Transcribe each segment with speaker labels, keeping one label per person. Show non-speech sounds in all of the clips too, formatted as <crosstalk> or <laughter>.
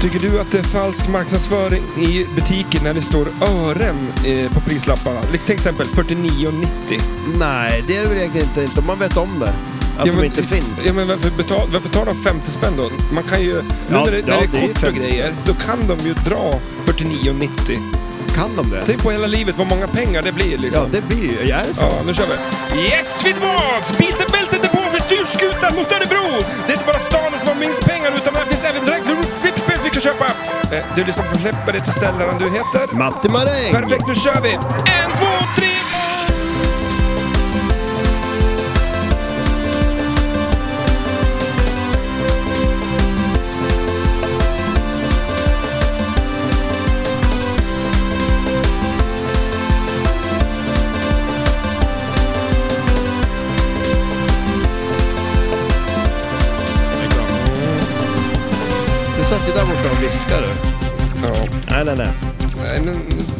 Speaker 1: Tycker du att det är falsk marknadsföring i butiken när det står ören eh, på prislapparna? Lik- Till exempel 49,90.
Speaker 2: Nej, det är det väl egentligen inte. inte. Man vet om det. Att de inte finns.
Speaker 1: Ja, men varför, betal, varför tar de 50 spänn då? Man kan ju... nu
Speaker 2: Ja,
Speaker 1: när det,
Speaker 2: ja,
Speaker 1: när det
Speaker 2: det
Speaker 1: är
Speaker 2: är ju
Speaker 1: kort och
Speaker 2: 50.
Speaker 1: grejer, då kan de ju dra 49,90.
Speaker 2: Kan de det?
Speaker 1: Tänk på hela livet, vad många pengar det blir liksom.
Speaker 2: Ja, det blir ju... Ja, är det så?
Speaker 1: Typ. Ja, nu kör vi. Yes, Swedmans! Bilderbältet är på för styrskutan mot Örebro! Det är inte bara staden som har minst pengar, utan här finns även direktflygspel vi kan köpa. Eh, Du lyssnar på Fläppare till ställaren du heter.
Speaker 2: Matti Maräng!
Speaker 1: Perfekt, nu kör vi! En, två, tre!
Speaker 2: Du satt ju där borta och viskade.
Speaker 1: Ja.
Speaker 2: Nej, nej, nej.
Speaker 1: Nej, men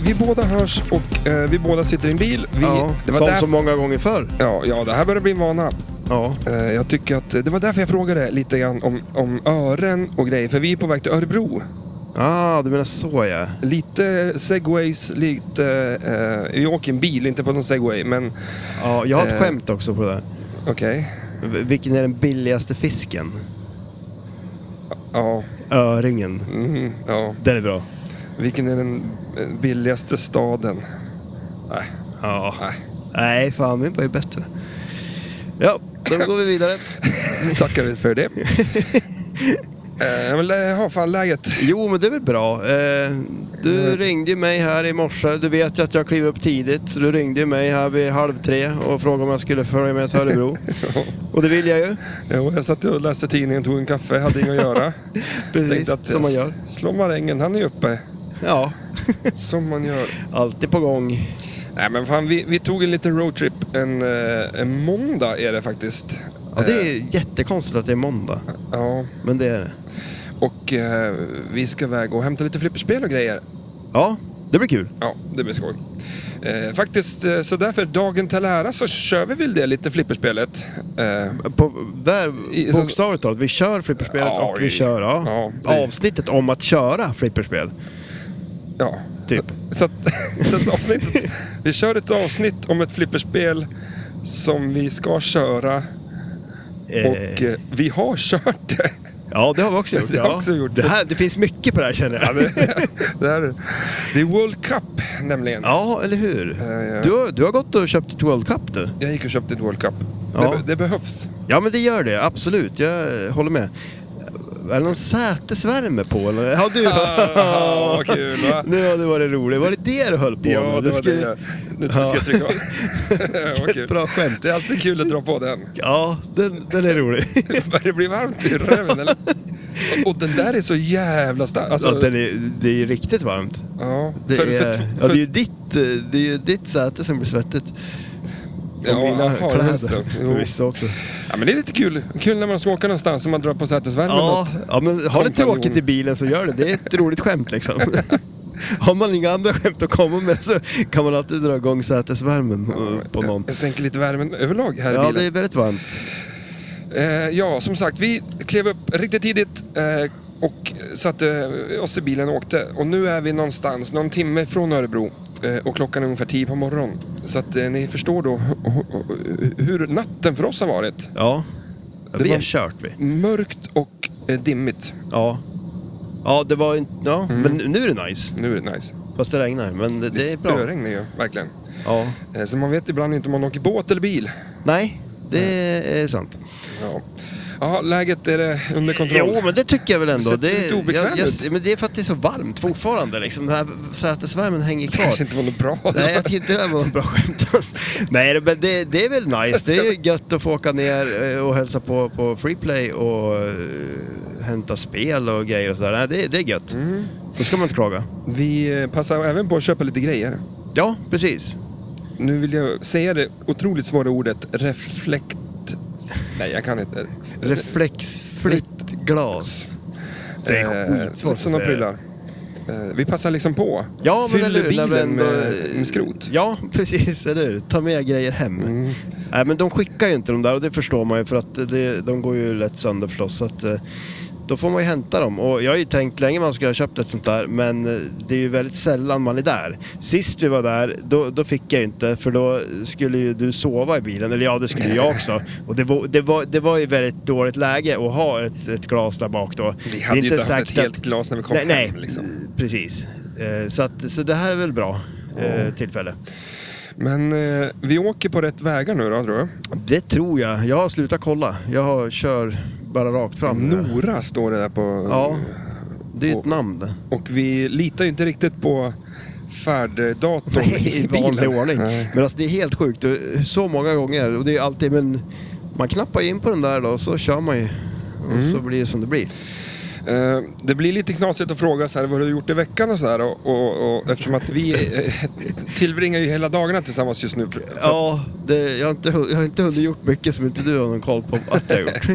Speaker 1: Vi båda hörs och eh, vi båda sitter i en bil. Vi,
Speaker 2: Ja,
Speaker 1: det var
Speaker 2: som
Speaker 1: där-
Speaker 2: så många gånger förr.
Speaker 1: ja, ja, det här börjar bli en vana.
Speaker 2: Ja.
Speaker 1: Eh, jag tycker att eh, det var därför jag frågade lite grann om, om ören och grejer. För vi är på väg till Örebro.
Speaker 2: Ah, du menar så ja.
Speaker 1: Lite segways, lite... Eh, vi åker i en bil, inte på någon segway, men
Speaker 2: Ja, jag har ett
Speaker 1: Eh.
Speaker 2: skämt också på det där.
Speaker 1: okej.
Speaker 2: V- Vilken är den billigaste fisken?
Speaker 1: Ja,
Speaker 2: Öringen.
Speaker 1: mm, ja.
Speaker 2: Den är bra.
Speaker 1: Vilken är den eh, billigaste staden? Nej,
Speaker 2: Ja.
Speaker 1: nej.
Speaker 2: Nej, fan min var ju bättre. Ja, då går vi vidare.
Speaker 1: Nu <laughs> tackar vi
Speaker 2: <laughs>
Speaker 1: för det. Eh, men lä- ha fan
Speaker 2: <laughs>
Speaker 1: läget.
Speaker 2: Jo, men det är väl bra. Eh, du
Speaker 1: Mm.
Speaker 2: ringde ju mig här i morse. Du vet ju att jag kliver upp tidigt. Så Du ringde ju mig här vid halv tre och frågade om jag skulle följa med
Speaker 1: <laughs>
Speaker 2: till Örebro. och det vill jag ju.
Speaker 1: Jo, jag satt och läste tidningen, tog en kaffe, hade inget att göra.
Speaker 2: <laughs> Precis,
Speaker 1: Tänkte att
Speaker 2: som man gör.
Speaker 1: Slå marängen, han är uppe.
Speaker 2: Ja,
Speaker 1: Som man
Speaker 2: <laughs>
Speaker 1: gör.
Speaker 2: alltid på gång.
Speaker 1: Nej men fan, vi, vi tog en liten roadtrip en, eh, en måndag är det faktiskt.
Speaker 2: Ja, det
Speaker 1: Eh,
Speaker 2: är jättekonstigt att det är måndag.
Speaker 1: ja.
Speaker 2: Men det är det.
Speaker 1: Och eh, vi ska iväg och hämta lite flipperspel och grejer.
Speaker 2: Ja, det blir kul.
Speaker 1: Ja, det blir skoj. Eh, faktiskt, eh, så därför dagen till ära så kör vi väl det lite flipperspelet. Eh,
Speaker 2: På, där,
Speaker 1: I- så-
Speaker 2: bokstavligt talat, vi kör flipperspelet
Speaker 1: Ja,
Speaker 2: och
Speaker 1: i-
Speaker 2: vi kör ja.
Speaker 1: ja, det-
Speaker 2: avsnittet om att köra flipperspel.
Speaker 1: ja.
Speaker 2: Typ.
Speaker 1: Så att, <laughs> så att avsnittet, vi kör ett avsnitt om ett flipperspel som vi ska köra
Speaker 2: Eh,
Speaker 1: och eh, vi har kört det.
Speaker 2: ja, det har vi också gjort.
Speaker 1: <laughs> det har
Speaker 2: ja.
Speaker 1: också gjort.
Speaker 2: Det, här, det finns mycket på det här känner jag. Ja, <laughs>
Speaker 1: Det, här, det är World Cup nämligen.
Speaker 2: eller hur?
Speaker 1: ja.
Speaker 2: Du, har- du har gått och köpt ett World Cup du.
Speaker 1: Jag gick och köpte ett World Cup.
Speaker 2: Ja.
Speaker 1: Det, be- det behövs.
Speaker 2: Ja, men det gör det. Absolut, jag eh, håller med. Är det någon sätesvärme på eller? Ja,
Speaker 1: <laughs>
Speaker 2: du.
Speaker 1: Ah, vad kul va?
Speaker 2: Nu har det varit roligt. Var det det du höll på med?
Speaker 1: Ja,
Speaker 2: Du
Speaker 1: det var det jag... Nu ska jag
Speaker 2: <laughs>
Speaker 1: trycka av. <laughs> Vad
Speaker 2: Vilket
Speaker 1: kul.
Speaker 2: bra skämt.
Speaker 1: Det är alltid kul att dra på den.
Speaker 2: Ja, den, den är rolig. <laughs>
Speaker 1: Börjar det bli varmt i röven eller? Och- Och den där är så jävla stark. Alltså,
Speaker 2: ja, den är, det är ju riktigt varmt.
Speaker 1: ja,
Speaker 2: Det,
Speaker 1: för,
Speaker 2: är,
Speaker 1: för, för,
Speaker 2: ja, det är ju ditt, eh, det är ju ditt säte som blir svettigt. Och
Speaker 1: Ja,
Speaker 2: mina
Speaker 1: aha, just det.
Speaker 2: kläder
Speaker 1: Jo.
Speaker 2: <laughs> förvisso också.
Speaker 1: ja, men det är lite kul. Kul när man ska åka någonstans och man drar på sätesvärmen.
Speaker 2: Ja,
Speaker 1: Ja.
Speaker 2: ja, men har det
Speaker 1: kompanjon.
Speaker 2: tråkigt i bilen så gör det. Det är ett roligt
Speaker 1: <laughs>
Speaker 2: skämt liksom. Har man inga andra skämt att komma med så kan man alltid dra igång sätesvärmen eh, på någon.
Speaker 1: Jag sänker lite värmen överlag här i
Speaker 2: Ja, det
Speaker 1: bilen.
Speaker 2: är väldigt varmt.
Speaker 1: Eh, ja, som sagt, vi klev upp riktigt tidigt eh, och satte oss i bilen och åkte. Och nu är vi någonstans, någon timme från Örebro. Eh, och klockan är ungefär 10 på morgonen. Så att eh, ni förstår då hur natten för oss har varit.
Speaker 2: Ja,
Speaker 1: Det
Speaker 2: vi
Speaker 1: var-
Speaker 2: har kört vi.
Speaker 1: Mörkt och eh, dimmigt.
Speaker 2: Ja. Ja, det var inte... Ja,
Speaker 1: Mm.
Speaker 2: men nu är det nice.
Speaker 1: Nu är det nice.
Speaker 2: Fast det regnar. Men det, det är bra.
Speaker 1: spöregnar ju, verkligen.
Speaker 2: Ja.
Speaker 1: Eh, Så man vet ibland inte om man åker båt eller bil.
Speaker 2: Nej, det är sant.
Speaker 1: Ja, ja läget är det under kontroll.
Speaker 2: Jo, men det tycker jag väl
Speaker 1: Du
Speaker 2: ändå.
Speaker 1: ser
Speaker 2: Det,
Speaker 1: lite obekväm
Speaker 2: jag, jag, men det är för att det är så varmt fortfarande. Liksom. Den här sätesvärmen hänger
Speaker 1: det <laughs> kanske
Speaker 2: kvar.
Speaker 1: inte var något bra.
Speaker 2: Nej, jag tycker inte det här var en <laughs> bra skämt alls. Nej, men det, det är väl nice. Det är ju gött att få åka ner eh, och hälsa på på Freeplay och eh, hämta spel och grejer och sådär. Nej, det, det är gött.
Speaker 1: Mm.
Speaker 2: Då ska man inte klaga.
Speaker 1: Vi eh, passar även på att köpa lite grejer.
Speaker 2: Ja, precis.
Speaker 1: Nu vill jag säga det otroligt svåra ordet reflekt... Nej, jag kan inte.
Speaker 2: Reflexfritt glas. Eh, Det är skitsvårt att
Speaker 1: Sådana
Speaker 2: säga det.
Speaker 1: Eh, prylar. Eh, Vi passar liksom på.
Speaker 2: Ja, men eller
Speaker 1: Fyller
Speaker 2: hur?
Speaker 1: bilen
Speaker 2: Nej, men då-
Speaker 1: med, med skrot.
Speaker 2: Ja, <laughs> precis. Eller hur? Ta med grejer hem.
Speaker 1: Mm.
Speaker 2: Nej, men de skickar ju inte de där och det förstår man ju för att det, de går ju lätt sönder förstås. Så att, eh, då får man ju hämta dem. Och jag har ju tänkt länge man skulle ha köpt ett sånt där men eh, det är ju väldigt sällan man är där. Sist vi var där, då, då fick jag ju inte för då skulle ju du sova i bilen. Eller ja, det skulle ju jag också. Och det var, det var, det var ju väldigt dåligt läge att ha ett, ett glas där bak då.
Speaker 1: Vi
Speaker 2: Det är
Speaker 1: hade ju inte haft
Speaker 2: säkert
Speaker 1: ett
Speaker 2: att-
Speaker 1: helt glas när vi kom
Speaker 2: Nej, nej
Speaker 1: hem. Liksom.
Speaker 2: precis. Eh, Så, att, så det här är väl bra eh, tillfälle.
Speaker 1: Men eh, vi åker på rätt vägar nu då, tror jag.
Speaker 2: Det tror jag. Jag har slutat kolla. Jag har, kör bara rakt fram.
Speaker 1: Nora står det där på.
Speaker 2: Ja, det är ju ett
Speaker 1: Och- <laughs>
Speaker 2: namn <laughs> det.
Speaker 1: Och vi litar ju inte riktigt på färddatorn
Speaker 2: I
Speaker 1: i bilen.
Speaker 2: vanlig ordning.
Speaker 1: Nej.
Speaker 2: Men alltså det är helt sjukt. Så många gånger. Och det är alltid, men man knappar in på den där då och så kör man ju. Och
Speaker 1: Mm.
Speaker 2: så blir det som det blir.
Speaker 1: Eh, Det blir lite knasigt att fråga så här, vad har du gjort i veckan och så här. Och, och, och, eftersom att vi eh, tillbringar ju hela dagarna tillsammans just nu. Så-
Speaker 2: Ja, det, jag, har inte, hu- jag har inte hunnit gjort mycket som inte du har någon koll på att jag har gjort.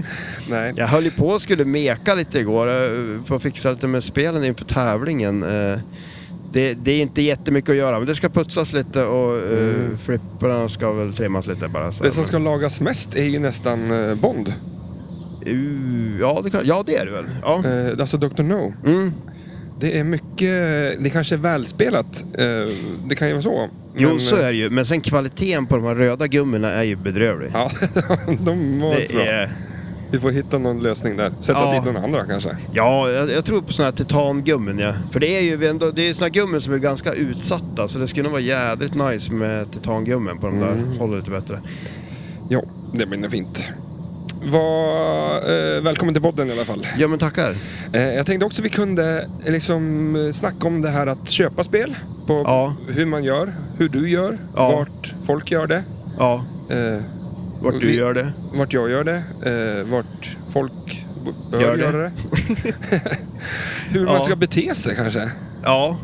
Speaker 1: Nej.
Speaker 2: Jag höll ju på och skulle meka lite igår, eh, för att fixa lite med spelen inför tävlingen. Eh, Det, det är inte jättemycket att göra, men det ska putsas lite och mm. flipprarna ska väl trimmas lite bara. Så.
Speaker 1: Det som ska lagas mest är ju nästan eh, Bond.
Speaker 2: Uh, Ja, det kan, ja, det är det väl. Ja.
Speaker 1: Eh, Alltså Dr. No.
Speaker 2: Mm.
Speaker 1: Det är mycket, det kanske är välspelat. eh, Det kan ju vara så.
Speaker 2: Jo,
Speaker 1: Men,
Speaker 2: så
Speaker 1: eh,
Speaker 2: är det ju. Men sen kvaliteten på de här röda gummorna är ju bedrövlig.
Speaker 1: Ja, <laughs> de var inte så bra.
Speaker 2: det är,
Speaker 1: Vi får hitta någon lösning där. Sätta
Speaker 2: Ja.
Speaker 1: dit någon andra kanske.
Speaker 2: ja, jag, jag tror på såna här titangummin ja. För det är ju ändå, det är såna här gummin som är ganska utsatta, så det skulle nog vara jädrigt nice med titangummin på de där.
Speaker 1: Mm.
Speaker 2: Håller lite bättre.
Speaker 1: Jo, det blir nog fint. Var, eh, välkommen till podden i alla fall.
Speaker 2: Ja, men tackar.
Speaker 1: Eh, jag tänkte också vi kunde eh, liksom eh, snacka om det här att köpa spel. På
Speaker 2: Ja.
Speaker 1: hur man gör, hur du gör,
Speaker 2: Ja.
Speaker 1: vart folk gör det.
Speaker 2: Ja,
Speaker 1: Eh,
Speaker 2: vart du
Speaker 1: Vi-
Speaker 2: gör det.
Speaker 1: vart jag gör det, eh, vart folk b- bör
Speaker 2: Gör det.
Speaker 1: göra
Speaker 2: <laughs>
Speaker 1: det. hur
Speaker 2: Ja.
Speaker 1: man ska bete sig kanske.
Speaker 2: Ja.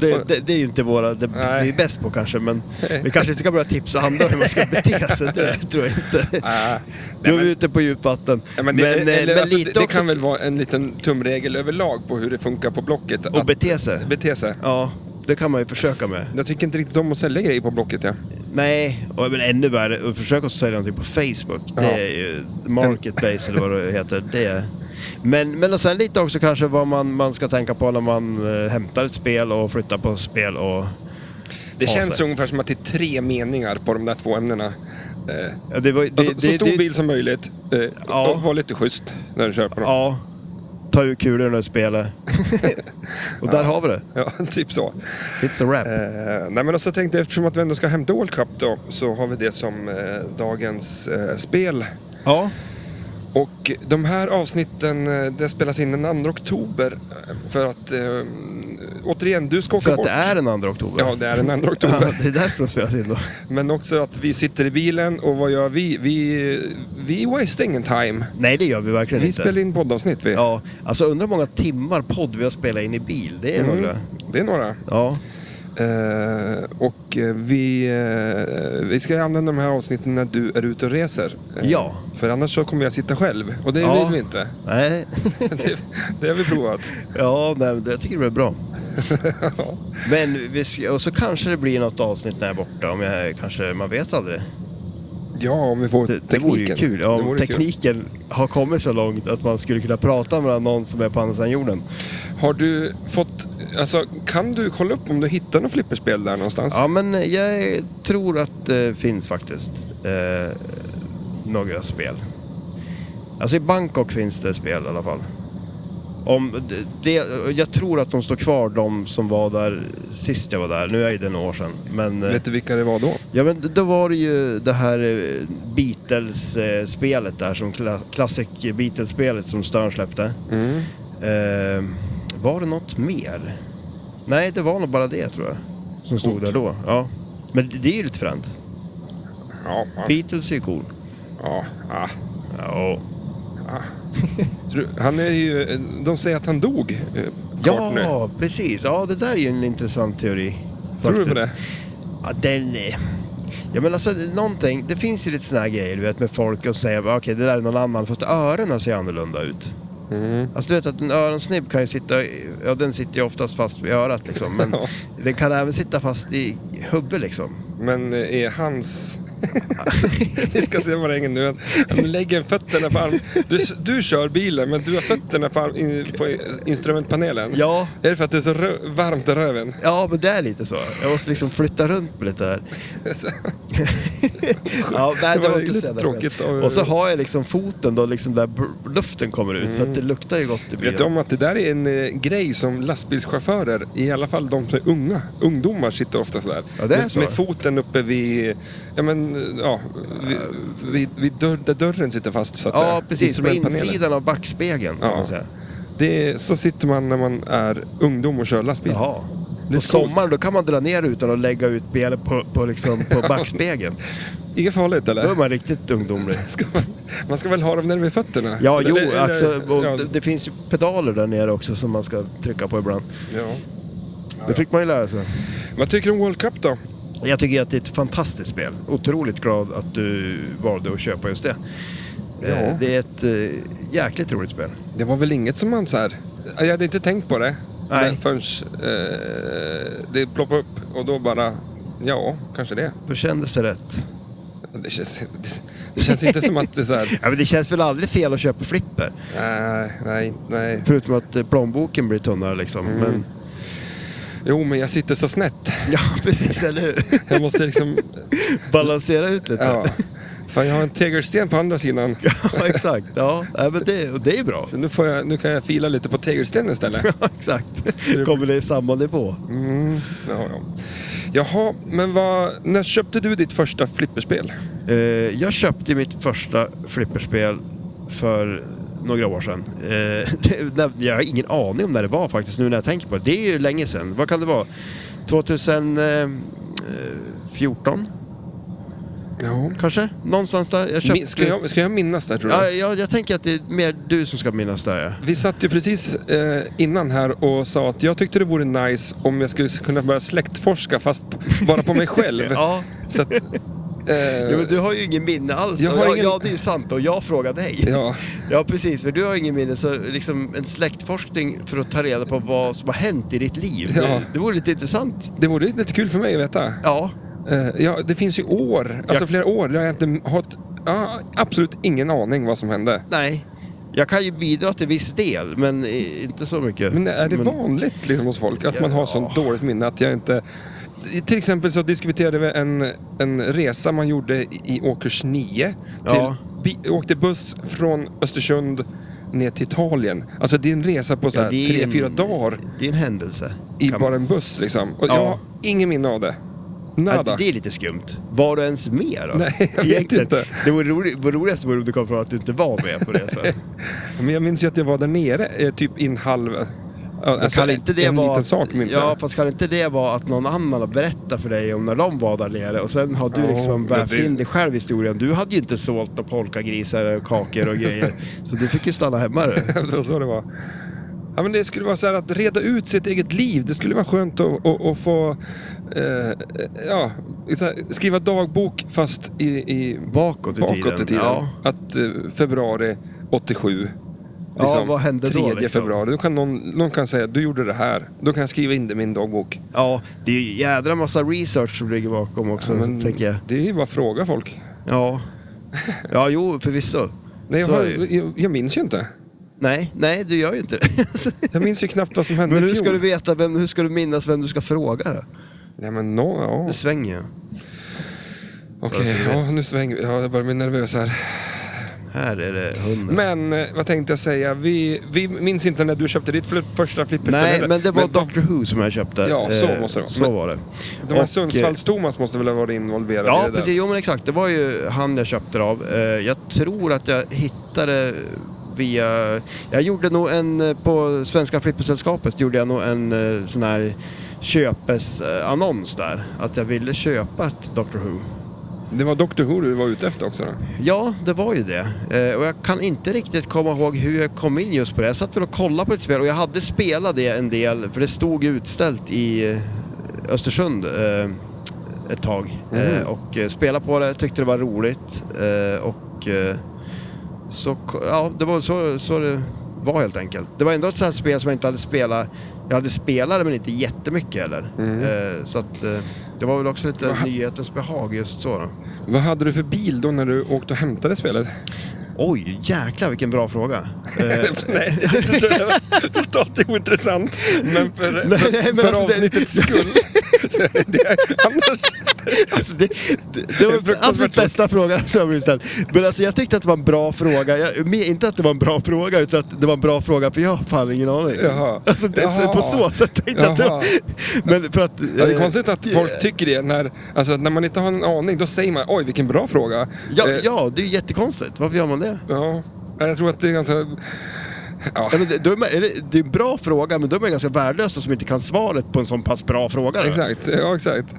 Speaker 2: Det,
Speaker 1: Och-
Speaker 2: det, det är ju inte våra, det
Speaker 1: Nej.
Speaker 2: vi är bäst på
Speaker 1: <laughs>
Speaker 2: kanske, men vi kanske inte ska börja tipsa andra hur man ska bete sig. Det tror jag inte.
Speaker 1: Ah,
Speaker 2: Nu
Speaker 1: nej,
Speaker 2: är vi
Speaker 1: men,
Speaker 2: ute på djupvatten.
Speaker 1: ja, men det,
Speaker 2: men, eh,
Speaker 1: eller,
Speaker 2: men
Speaker 1: alltså,
Speaker 2: lite
Speaker 1: det, det
Speaker 2: också-
Speaker 1: kan väl vara en liten tumregel överlag på hur det funkar på Blocket.
Speaker 2: Och
Speaker 1: Att
Speaker 2: bete sig.
Speaker 1: bete sig.
Speaker 2: Ja, det kan man ju försöka med.
Speaker 1: Jag tycker inte riktigt om att sälja grejer på Blocket. Ja.
Speaker 2: Nej, och, men ännu värre, att försöka sälja någonting på Facebook.
Speaker 1: Ja.
Speaker 2: Det är ju marketplace eller vad det heter. Det är... Men, men och sen lite också kanske vad man, man ska tänka på när man eh, hämtar ett spel och flyttar på spel och...
Speaker 1: Det
Speaker 2: Ja,
Speaker 1: känns
Speaker 2: så.
Speaker 1: ungefär som att det är tre meningar på de där två ämnena. Eh,
Speaker 2: Ja, Det, var, det,
Speaker 1: alltså, så
Speaker 2: det-
Speaker 1: stor
Speaker 2: det-
Speaker 1: bil som möjligt eh,
Speaker 2: Ja.
Speaker 1: och var lite schysst när du köper dem.
Speaker 2: Ja, ta ur kulorna
Speaker 1: <laughs>
Speaker 2: ur spelet. och där har vi det.
Speaker 1: Ja, <laughs> typ så.
Speaker 2: It's a wrap.
Speaker 1: Eh, nej men och så tänkte jag, eftersom att vi ändå ska hämta World Cup då, så har vi det som eh, dagens eh, spel.
Speaker 2: Ja,
Speaker 1: Och de här avsnitten, eh, det spelas in den 2 oktober. eh, För att, eh, återigen, du ska åka
Speaker 2: för att
Speaker 1: bort.
Speaker 2: det är den 2 oktober.
Speaker 1: Ja, det är den
Speaker 2: <laughs>
Speaker 1: 2
Speaker 2: Ja,
Speaker 1: oktober.
Speaker 2: det är därför de spelas in då.
Speaker 1: Men också att vi sitter i bilen och vad gör vi? Vi, vi är wasting time.
Speaker 2: Nej, det gör vi verkligen
Speaker 1: Vi
Speaker 2: inte.
Speaker 1: spelar in poddavsnitt vi.
Speaker 2: Ja, alltså undrar hur många timmar podd vi har spelat in i bil. Det är
Speaker 1: Mm.
Speaker 2: några.
Speaker 1: Det är några.
Speaker 2: Ja.
Speaker 1: Eh, och eh, vi, eh, vi ska använda de här avsnitten när du är ute och reser. Eh,
Speaker 2: Ja.
Speaker 1: För annars så kommer jag sitta själv och det
Speaker 2: Ja.
Speaker 1: vill vi inte. <laughs>
Speaker 2: Nej. <laughs>
Speaker 1: Det, det har vi provat.
Speaker 2: ja, nej, men det- jag tycker det blir bra.
Speaker 1: <laughs> Ja.
Speaker 2: Men vi ska, och så kanske det blir något avsnitt när jag är borta. Om jag, kanske, man vet aldrig.
Speaker 1: ja, om vi får
Speaker 2: Det, det
Speaker 1: tekniken.
Speaker 2: vore ju kul. Ja,
Speaker 1: Det
Speaker 2: om
Speaker 1: vore kul.
Speaker 2: tekniken har kommit så långt att man skulle kunna prata med någon som är på andra sidan jorden.
Speaker 1: Har du fått, alltså kan du kolla upp om du hittar något flipperspel där någonstans?
Speaker 2: Ja, men jag tror att det finns faktiskt eh, några spel. Alltså i Bangkok finns det spel i alla fall. Om det, jag tror att de står kvar, de som var där sist jag var där. Nu är ju det några år sedan. Men, eh,
Speaker 1: Vet du vilka det var då?
Speaker 2: ja, men då var det ju det här eh, Beatles-spelet där, som kla- classic Beatles-spelet som Stern släppte.
Speaker 1: Mm.
Speaker 2: Eh, var det något mer? Nej, det var nog bara det tror jag. Som stod
Speaker 1: Coolt.
Speaker 2: där då. Ja. Men det är ju lite fränt.
Speaker 1: Ja, ja,
Speaker 2: Beatles är ju cool.
Speaker 1: ja, ja.
Speaker 2: Ja.
Speaker 1: Så du- Han är ju, de säger att han dog. eh, Kort nu.
Speaker 2: Ja, precis. Ja, det där är ju en intressant teori.
Speaker 1: Tror du på
Speaker 2: faktiskt.
Speaker 1: det?
Speaker 2: Ja, den är... Ja men alltså någonting, det finns ju lite såna här grejer du vet med folk och säger bara, okej det där är någon annan fast öronen ser annorlunda ut.
Speaker 1: Mm.
Speaker 2: Alltså du vet att en öronsnibb kan ju sitta, i- ja den sitter ju oftast fast vid örat liksom. Men
Speaker 1: <laughs> Ja.
Speaker 2: den kan även sitta fast i huvudet liksom. <laughs>
Speaker 1: Men eh, är hans... <laughs> Vi ska se vad det hänger nu. Han lägger fötterna på arm... Du, du kör bilen, men du har fötterna på, arm, in, på instrumentpanelen.
Speaker 2: Ja,
Speaker 1: Är det för att det är så rö- varmt i röven? <laughs>
Speaker 2: ja men det är lite så. Jag måste liksom flytta runt på lite här. Ja, nej, det var inte så
Speaker 1: lite
Speaker 2: jävla
Speaker 1: tråkigt.
Speaker 2: skönt. Och så har jag liksom foten då, liksom där br- luften kommer ut. Så att det luktar ju gott i bilen.
Speaker 1: Mm. Vet du om att det där är en eh, grej som lastbilschaufförer, i alla fall de som är unga, ungdomar sitter ofta sådär.
Speaker 2: Ja, det är
Speaker 1: med,
Speaker 2: så.
Speaker 1: med foten uppe vid, ja men, eh, ja, vid, vid, vid dörr, där dörren sitter fast så att säga.
Speaker 2: Ja, precis. På
Speaker 1: Instrumentpanelen.
Speaker 2: insidan av backspegeln kan
Speaker 1: Ja.
Speaker 2: man säga.
Speaker 1: Det är, så sitter man när man är ungdom och kör lastbil.
Speaker 2: Jaha.
Speaker 1: Det är
Speaker 2: På sommaren
Speaker 1: coolt.
Speaker 2: då kan man dra ner utan att lägga ut benen på, på, liksom,
Speaker 1: <laughs>
Speaker 2: på backspegeln.
Speaker 1: Inget farligt eller?
Speaker 2: Då är man riktigt ungdomlig.
Speaker 1: <laughs> Ska man, man ska väl ha dem nere vid fötterna?
Speaker 2: Ja,
Speaker 1: Eller-
Speaker 2: jo,
Speaker 1: eller-
Speaker 2: alltså, och
Speaker 1: ja,
Speaker 2: det, det finns ju pedaler där nere också som man ska trycka på ibland.
Speaker 1: ja.
Speaker 2: Det fick man ju lära sig.
Speaker 1: Vad tycker du om World Cup då?
Speaker 2: Jag tycker att det är ett fantastiskt spel. Otroligt glad att du valde att köpa just det.
Speaker 1: Ja.
Speaker 2: Eh, Det är ett eh, jäkligt roligt spel.
Speaker 1: Det var väl inget som man så här... Jag hade inte tänkt på det.
Speaker 2: Nej.
Speaker 1: Men förrän eh, det ploppade upp och då bara... Ja, kanske det.
Speaker 2: Då kändes det rätt.
Speaker 1: Det känns, det, det känns inte som att det är så
Speaker 2: <laughs>
Speaker 1: här...
Speaker 2: Ja, men det känns väl aldrig fel att köpa flipper?
Speaker 1: Nej, nej, nej.
Speaker 2: Förutom att eh, plånboken blir tunnare liksom.
Speaker 1: Mm.
Speaker 2: Men, <laughs>
Speaker 1: Jo, men jag sitter så snett.
Speaker 2: ja, precis, eller hur?
Speaker 1: Jag måste liksom...
Speaker 2: <laughs> Balansera ut lite.
Speaker 1: Ja. Fan, jag har en tegelsten på andra sidan.
Speaker 2: Ja, <laughs> exakt. Ja, nej, men det, och det är bra.
Speaker 1: Så nu, får jag, nu kan jag fila lite på tegelstenen istället.
Speaker 2: <laughs> Ja, exakt. Kommer det i samma nivå?
Speaker 1: Mm, ja, ja. Jaha, men vad, när köpte du ditt första flipperspel?
Speaker 2: Eh, jag köpte mitt första flipperspel för några år sedan. Eh, <laughs> det, när- jag har ingen aning om när det var faktiskt, nu när jag tänker på det. Det är ju länge sedan. Vad kan det vara? eh, 2014
Speaker 1: Ja.
Speaker 2: kanske? Någonstans där. Jag köpte...
Speaker 1: Ska, jag, ska jag minnas det här, tror du?
Speaker 2: Ja, jag, jag tänker att det är mer du som ska minnas det. här,
Speaker 1: Vi satt ju precis eh, innan här och sa att jag tyckte det vore nice om jag skulle kunna börja släktforska fast p- bara
Speaker 2: <laughs>
Speaker 1: på mig själv.
Speaker 2: Ja. ja.
Speaker 1: Så att, eh,
Speaker 2: Ja, men du har ju ingen minne alls.
Speaker 1: Jag
Speaker 2: Jag
Speaker 1: har
Speaker 2: ja,
Speaker 1: ingen-
Speaker 2: ja, det är sant. Och jag frågar dig.
Speaker 1: ja,
Speaker 2: Ja, precis. För du har ingen minne. Så liksom en släktforskning för att ta reda på vad som har hänt i ditt liv.
Speaker 1: Ja.
Speaker 2: Det, det vore lite intressant.
Speaker 1: det vore ju lite kul för mig att veta.
Speaker 2: Ja,
Speaker 1: Eh, ja, det finns ju år, alltså
Speaker 2: Jag-
Speaker 1: flera år, där jag inte har ett, ja, absolut ingen aning vad som hände.
Speaker 2: nej. Jag kan ju bidra till viss del, men i- inte så mycket.
Speaker 1: Men är det vanligt liksom, hos folk att man har sånt
Speaker 2: Ja.
Speaker 1: dåligt minne att jag inte... Till exempel så diskuterade vi en, en resa man gjorde i- i årskurs 9. Till,
Speaker 2: Ja.
Speaker 1: bi, åkte buss från Östersund ner till Italien. Alltså det är en resa på så här,
Speaker 2: det är
Speaker 1: tre,
Speaker 2: en-
Speaker 1: fyra dagar
Speaker 2: Det är en händelse.
Speaker 1: i
Speaker 2: Kan-
Speaker 1: bara en buss liksom. Och
Speaker 2: Ja.
Speaker 1: jag har ingen minne av det.
Speaker 2: Ja,
Speaker 1: Nada.
Speaker 2: det, det är lite skumt. Var du ens med då?
Speaker 1: Nej, jag vet
Speaker 2: Egentligen.
Speaker 1: inte.
Speaker 2: Det vore roligt, det roligaste vore om du kom fram att du inte var med på resan.
Speaker 1: Men <laughs> jag minns ju att jag var där nere eh, typ i en halv... eh,
Speaker 2: Men
Speaker 1: Alltså,
Speaker 2: kan inte det
Speaker 1: en
Speaker 2: vara
Speaker 1: liten
Speaker 2: att-
Speaker 1: sak minns
Speaker 2: Ja,
Speaker 1: jag.
Speaker 2: fast kan inte det vara att någon annan har berättat för dig om när de var där nere och sen har du
Speaker 1: Ja,
Speaker 2: liksom
Speaker 1: men
Speaker 2: vävt
Speaker 1: det-
Speaker 2: in dig själv i historien. Du hade ju inte sålt några polkagrisar och kakor
Speaker 1: <laughs>
Speaker 2: och grejer. så du fick ju stanna hemma du.
Speaker 1: det var så det var. Ja, men det skulle vara så här att reda ut sitt eget liv. Det skulle vara skönt att, att, att få eh, ja, så här, skriva dagbok fast i, i,
Speaker 2: Bakåt i tiden.
Speaker 1: bakåt i tiden.
Speaker 2: Ja.
Speaker 1: Att eh, februari 87.
Speaker 2: Ja, vad hände då,
Speaker 1: 3
Speaker 2: liksom?
Speaker 1: februari. Då kan någon, någon kan säga du gjorde det här. Då kan jag skriva in det i min dagbok.
Speaker 2: ja, det är ju jädra massa research som ligger bakom också,
Speaker 1: Ja, men
Speaker 2: tänker jag.
Speaker 1: Det är ju bara att fråga folk.
Speaker 2: Ja, ja jo, förvisso.
Speaker 1: Nej, jag,
Speaker 2: Så är
Speaker 1: har,
Speaker 2: det ju.
Speaker 1: jag, jag minns ju inte.
Speaker 2: Nej, nej, du gör ju inte
Speaker 1: <laughs>
Speaker 2: det.
Speaker 1: Jag minns ju knappt vad som hände
Speaker 2: Men
Speaker 1: i
Speaker 2: hur
Speaker 1: fjol.
Speaker 2: ska du veta, vem, hur ska du minnas vem du ska fråga då?
Speaker 1: Nej, men no, ja.
Speaker 2: Du svänger ju.
Speaker 1: Okej,
Speaker 2: Alltså, jag
Speaker 1: ja, nu svänger vi. Ja, jag börjar bli nervös här.
Speaker 2: Här är det hunden.
Speaker 1: Men eh, vad tänkte jag säga? Vi, vi minns inte när du köpte ditt fl- första flipperspel
Speaker 2: Nej,
Speaker 1: heller.
Speaker 2: men det var
Speaker 1: de,
Speaker 2: Doctor Who som jag köpte.
Speaker 1: Ja, så
Speaker 2: Eh,
Speaker 1: måste det vara.
Speaker 2: Så
Speaker 1: Men-
Speaker 2: var det.
Speaker 1: de här
Speaker 2: och, eh,
Speaker 1: Sundsvalls-Thomas måste väl ha varit involverad i
Speaker 2: Ja,
Speaker 1: det där?
Speaker 2: precis. Jo, men exakt. Det var ju han jag köpte det av. Eh, Jag tror att jag hittade via... Jag gjorde nog en... eh, På Svenska Flippersällskapet gjorde jag nog en eh, sån här köpesannons där. Att jag ville köpa ett Doctor Who.
Speaker 1: Det var Doctor Who du var ute efter också då?
Speaker 2: Ja, det var ju det. Eh, och jag kan inte riktigt komma ihåg hur jag kom in just på det. Jag satt väl och kollade på ett spel och jag hade spelat det en del, för det stod utställt i eh, Östersund eh, ett tag.
Speaker 1: Mm.
Speaker 2: Eh, och eh, spelade på det, tyckte det var roligt. Eh, och eh, så, ko- ja, det var så, så det var helt enkelt. Det var ändå ett sånt här spel som jag inte hade spelat. Jag hade spelat det men inte jättemycket heller. Eh, så att eh, det var väl också lite nyhetens behag just så. Då.
Speaker 1: Vad hade du för bil då när du åkte och hämtade
Speaker 2: <laughs>
Speaker 1: spelet?
Speaker 2: Oj, jäklar vilken
Speaker 1: <laughs>
Speaker 2: bra fråga. Eh,
Speaker 1: Nej, det är inte så totalt ointressant. Men för,
Speaker 2: Nej,
Speaker 1: för,
Speaker 2: nej, men
Speaker 1: för
Speaker 2: alltså det-
Speaker 1: avsnittets skull. Så är det, annars...
Speaker 2: Alltså det, det, det var
Speaker 1: Fruktansvärt
Speaker 2: absolut bästa frågan som jag blivit ställd. Men alltså jag tyckte att det var en bra fråga. Jag, men inte att det var en bra fråga, utan att det var en bra fråga för jag har fan ingen aning.
Speaker 1: Jaha.
Speaker 2: Alltså det, så-
Speaker 1: Jaha.
Speaker 2: på så sätt tänkte jag att det var...
Speaker 1: Jaha.
Speaker 2: Men för att...
Speaker 1: Ja, det är
Speaker 2: eh,
Speaker 1: konstigt att folk tycker det. När, alltså, att när man inte har en aning, då säger man oj vilken bra fråga.
Speaker 2: Ja,
Speaker 1: Eh,
Speaker 2: ja, det är ju jättekonstigt. Varför gör man det?
Speaker 1: ja. Jag tror att det är ganska... Ja,
Speaker 2: Ja, men det, då är man, eller, det är en bra fråga, men då är man ganska värdelös som inte kan svaret på en sån pass bra fråga. då.
Speaker 1: exakt. Ja, exakt.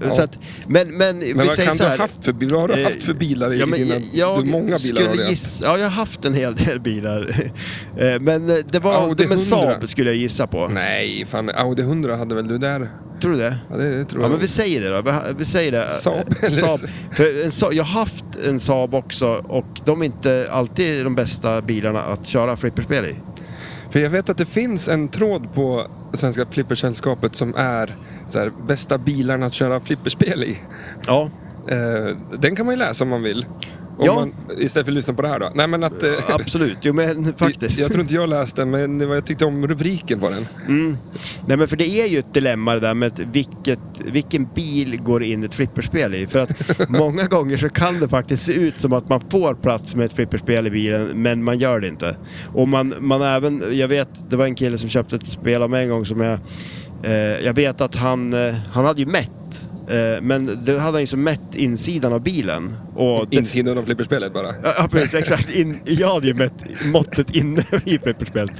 Speaker 1: Ja.
Speaker 2: Så att, men men,
Speaker 1: Men
Speaker 2: vi
Speaker 1: vad
Speaker 2: säger
Speaker 1: kan
Speaker 2: så
Speaker 1: du ha
Speaker 2: här.
Speaker 1: haft för bilar? Vad har du
Speaker 2: Eh,
Speaker 1: haft för bilar i
Speaker 2: Ja, men
Speaker 1: dina...
Speaker 2: jag, jag
Speaker 1: du, många bilar har
Speaker 2: skulle
Speaker 1: du haft.
Speaker 2: gissa, ja, jag har haft en hel del bilar. <laughs> Eh, men eh, det var
Speaker 1: Audi 100.
Speaker 2: men Saab skulle jag gissa på.
Speaker 1: Nej, fan Audi 100 hade väl du där?
Speaker 2: Tror du det?
Speaker 1: Ja, det, det tror
Speaker 2: Ja
Speaker 1: jag.
Speaker 2: men vi säger det då. Vi- Vi säger det.
Speaker 1: Saab,
Speaker 2: Eh, Saab.
Speaker 1: eller-
Speaker 2: För en Saab. Jag har haft en Saab också och de är inte alltid de bästa bilarna att köra flipperspel i.
Speaker 1: För jag vet att det finns en tråd på Svenska Flippersällskapet som är så här, bästa bilarna att köra flipperspel i. <laughs>
Speaker 2: Ja,
Speaker 1: Eh, den kan man ju läsa om man vill. Om
Speaker 2: Ja.
Speaker 1: man, istället för att lyssna på det här då. Nej men att... eh,
Speaker 2: absolut. Jo men faktiskt.
Speaker 1: Jag, jag tror inte jag läste den, men det var, jag tyckte om rubriken på den.
Speaker 2: Mm. Nej men för det är ju ett dilemma det där med att vilket, vilken bil går in ett flipperspel i. För att många gånger så kan det faktiskt se ut som att man får plats med ett flipperspel i bilen men man gör det inte. Och man, man även, jag vet, det var en kille som köpte ett spel av mig en gång som jag, eh, jag vet att han, eh, han hade ju mätt. Eh, men det hade han ju som mätt insidan av bilen. Och det,
Speaker 1: Insidan av flipperspelet bara.
Speaker 2: Ja, Ja, precis. Exakt. In, jag hade ju mätt måttet inne <laughs> i flipperspelet.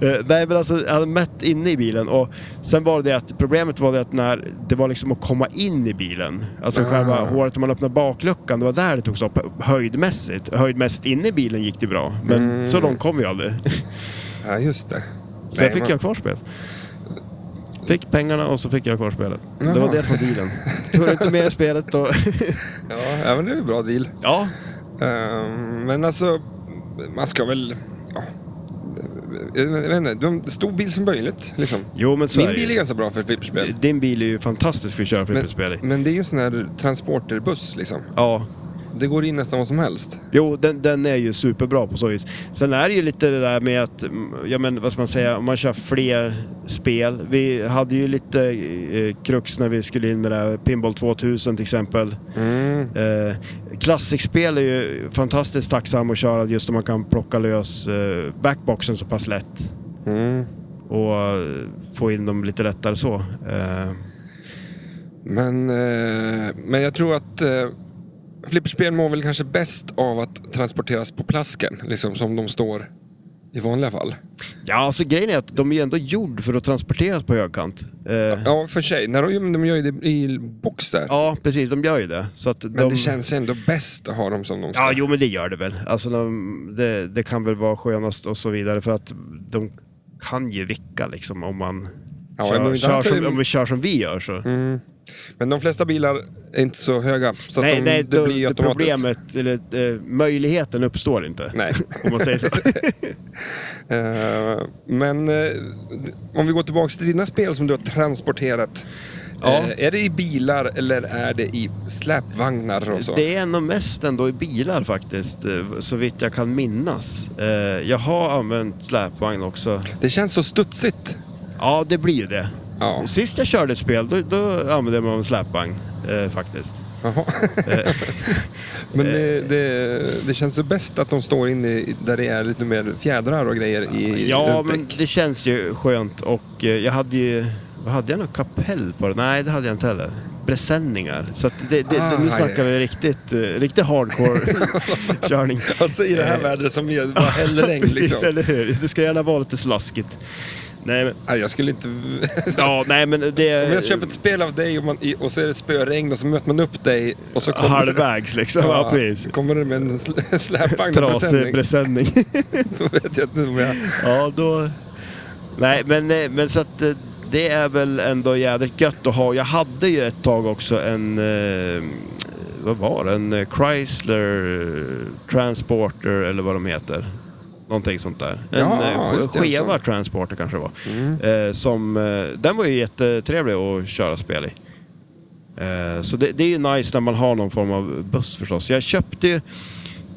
Speaker 2: Eh, nej, men alltså jag hade mätt inne i bilen och sen var det det att problemet var det att när det var liksom att komma in i bilen, alltså
Speaker 1: Ah.
Speaker 2: själva håret, om man öppnade bakluckan, det var där det togs upp höjdmässigt. Höjdmässigt inne i bilen gick det bra, men
Speaker 1: Mm.
Speaker 2: så långt kom vi aldrig. <laughs>
Speaker 1: Ja, just det.
Speaker 2: Så jag fick jag kvar spel. Fick pengarna och så fick jag kvar spelet. Det
Speaker 1: Jaha.
Speaker 2: var det som var dealen. Tog du inte med i spelet då... <laughs>
Speaker 1: Ja, ja men det är en bra deal.
Speaker 2: ja,
Speaker 1: Ehm, men alltså, man ska väl... Ja, jag vet inte, de, stor bil som möjligt liksom.
Speaker 2: jo men så
Speaker 1: Min
Speaker 2: är det ju.
Speaker 1: bil är ganska bra för flipperspel.
Speaker 2: Din bil är ju fantastisk för att köra flipperspel i.
Speaker 1: Men det är ju en sån här transporterbuss liksom.
Speaker 2: Ja,
Speaker 1: Det går in nästan vad som helst.
Speaker 2: jo den, den är ju superbra på så vis. Sen är det ju lite det där med att, mm, ja men vad ska man säga, om man kör fler spel. Vi hade ju lite eh, krux när vi skulle in med det här Pinball 2000 till exempel. Eh, klassikspel är ju fantastiskt tacksam att köra just om man kan plocka lös eh, backboxen så pass lätt.
Speaker 1: Mm.
Speaker 2: Och eh, få in dem lite lättare så. Eh,
Speaker 1: Men, eh, men jag tror att eh, flipperspel mår väl kanske bäst av att transporteras på plasken, liksom som de står i vanliga fall.
Speaker 2: ja, alltså grejen är att de är ju ändå gjord för att transporteras på högkant. Eh,
Speaker 1: Ja, för sig. När de, de gör ju det i boxar.
Speaker 2: Ja, precis. De gör ju det. Så att
Speaker 1: Men
Speaker 2: de...
Speaker 1: det känns ju ändå bäst att ha dem som de ska.
Speaker 2: Ja, jo men det gör det väl. Alltså, de, det, det kan väl vara skönast och så vidare för att de kan ju vicka liksom om man
Speaker 1: Ja, men
Speaker 2: kör,
Speaker 1: ibland
Speaker 2: kör
Speaker 1: så är
Speaker 2: som,
Speaker 1: det-
Speaker 2: om vi kör som vi gör så.
Speaker 1: Mm. Men de flesta bilar är inte så höga, så
Speaker 2: nej,
Speaker 1: att de,
Speaker 2: nej,
Speaker 1: det
Speaker 2: då-
Speaker 1: blir ju
Speaker 2: det
Speaker 1: automatiskt.
Speaker 2: problemet, eller eh, möjligheten uppstår inte.
Speaker 1: Nej.
Speaker 2: Om
Speaker 1: <laughs>
Speaker 2: man säger så.
Speaker 1: Eh, men eh, om vi går tillbaka till dina spel som du har transporterat.
Speaker 2: Ja.
Speaker 1: Eh, är det i bilar eller är det i släpvagnar och så?
Speaker 2: Det är nog mest ändå i bilar faktiskt, eh, så vitt jag kan minnas. Eh, jag har använt släpvagn också.
Speaker 1: Det känns så studsigt.
Speaker 2: Ja, det blir ju det.
Speaker 1: Ja.
Speaker 2: Sist jag körde ett spel, då, då använde jag mig av en släpvagn eh, faktiskt.
Speaker 1: Jaha.
Speaker 2: Eh,
Speaker 1: Men det, det, det känns så bäst att de står inne i- där det är lite mer fjädrar och grejer i
Speaker 2: Ja,
Speaker 1: utdäck.
Speaker 2: men det känns ju skönt och eh, jag hade ju... Vad hade jag något kapell på det? Nej, det hade jag inte heller. Presenningar. Så att det, det,
Speaker 1: Ah,
Speaker 2: nu
Speaker 1: ja.
Speaker 2: snackar vi riktigt, eh,
Speaker 1: <laughs>
Speaker 2: riktigt hardcore-körning.
Speaker 1: Alltså i det här vädret som är bara häller
Speaker 2: <laughs>
Speaker 1: regn
Speaker 2: Eh. Precis,
Speaker 1: liksom.
Speaker 2: eller hur? Det ska gärna vara lite slaskigt. Nej, men,
Speaker 1: Nej, jag skulle inte...
Speaker 2: ja, nej, men det...
Speaker 1: Om jag köper ett spel av dig och, man, i- och så är det spöregn och så möter man upp dig och så kommer...
Speaker 2: Halvvägs liksom, ja, precis.
Speaker 1: Kommer det med en sl- <laughs> släpvagn på
Speaker 2: Trasig Eh,
Speaker 1: presenning.
Speaker 2: presenning.
Speaker 1: <laughs> Då vet jag inte om jag...
Speaker 2: ja, då... Nej, men, eh, men så att eh, det är väl ändå jädrigt gött att ha. Jag hade ju ett tag också en, eh, vad var det, en eh, Chrysler eh, Transporter eller vad de heter. Någonting sånt där. En
Speaker 1: Ja,
Speaker 2: eh,
Speaker 1: just det,
Speaker 2: skeva
Speaker 1: alltså.
Speaker 2: transporter kanske det var.
Speaker 1: Mm.
Speaker 2: Eh, som, eh, den var ju jättetrevlig att köra spel i. Eh, så det, det är ju nice när man har någon form av buss förstås. Jag köpte ju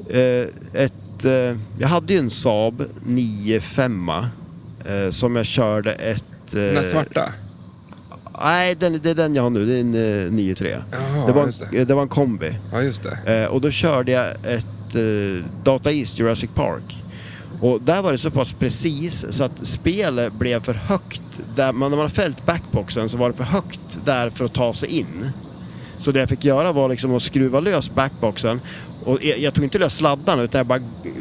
Speaker 2: eh, ett... Eh, jag hade ju en Saab 9-5 eh, som jag körde ett... Eh,
Speaker 1: Den där svarta?
Speaker 2: Nej, den, det är den jag har nu. Det är en eh, 9-3.
Speaker 1: Ja,
Speaker 2: det, var
Speaker 1: just
Speaker 2: en,
Speaker 1: det.
Speaker 2: eh, det var en kombi.
Speaker 1: Ja, just det.
Speaker 2: Eh, och då körde jag ett eh, Data East Jurassic Park. Och där var det så pass precis så att spelet blev för högt. Där man, när man hade fällt backboxen så var det för högt där för att ta sig in. Så det jag fick göra var liksom att skruva lös backboxen. Och e- jag, jag tog inte lös sladdarna utan jag bara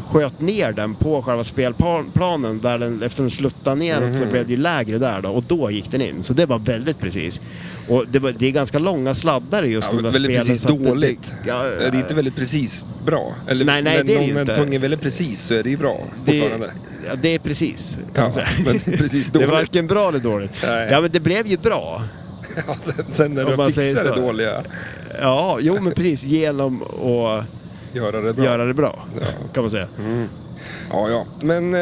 Speaker 2: sköt ner den på själva spelplanen där den, efter den sluttade ner och så
Speaker 1: Mhm.
Speaker 2: blev det ju lägre där då och då gick den in. Så det var väldigt precis. Och det, var, det är ganska långa sladdar i just
Speaker 1: Ja,
Speaker 2: de där
Speaker 1: väldigt
Speaker 2: spelen.
Speaker 1: precis
Speaker 2: så att det-
Speaker 1: dåligt.
Speaker 2: Det, ja, eh,
Speaker 1: Det är inte väldigt precis bra. Eller,
Speaker 2: Nej, nej,
Speaker 1: men
Speaker 2: det är det
Speaker 1: om
Speaker 2: ju
Speaker 1: en
Speaker 2: inte.
Speaker 1: tung är väldigt precis så är det ju bra fortfarande. <laughs>
Speaker 2: ja, det är precis. Kan man
Speaker 1: Ja,
Speaker 2: säga.
Speaker 1: men precis
Speaker 2: <laughs> det är
Speaker 1: dåligt.
Speaker 2: varken bra eller dåligt.
Speaker 1: Nej.
Speaker 2: Ja, men det blev ju bra.
Speaker 1: Ja, sen, sen när
Speaker 2: Om man
Speaker 1: du
Speaker 2: säger
Speaker 1: fixar det
Speaker 2: så.
Speaker 1: dåliga,
Speaker 2: Ja, jo men precis. Genom att
Speaker 1: göra det bra.
Speaker 2: göra det bra,
Speaker 1: Ja.
Speaker 2: kan man säga.
Speaker 1: Mm. Ja, ja. Men eh,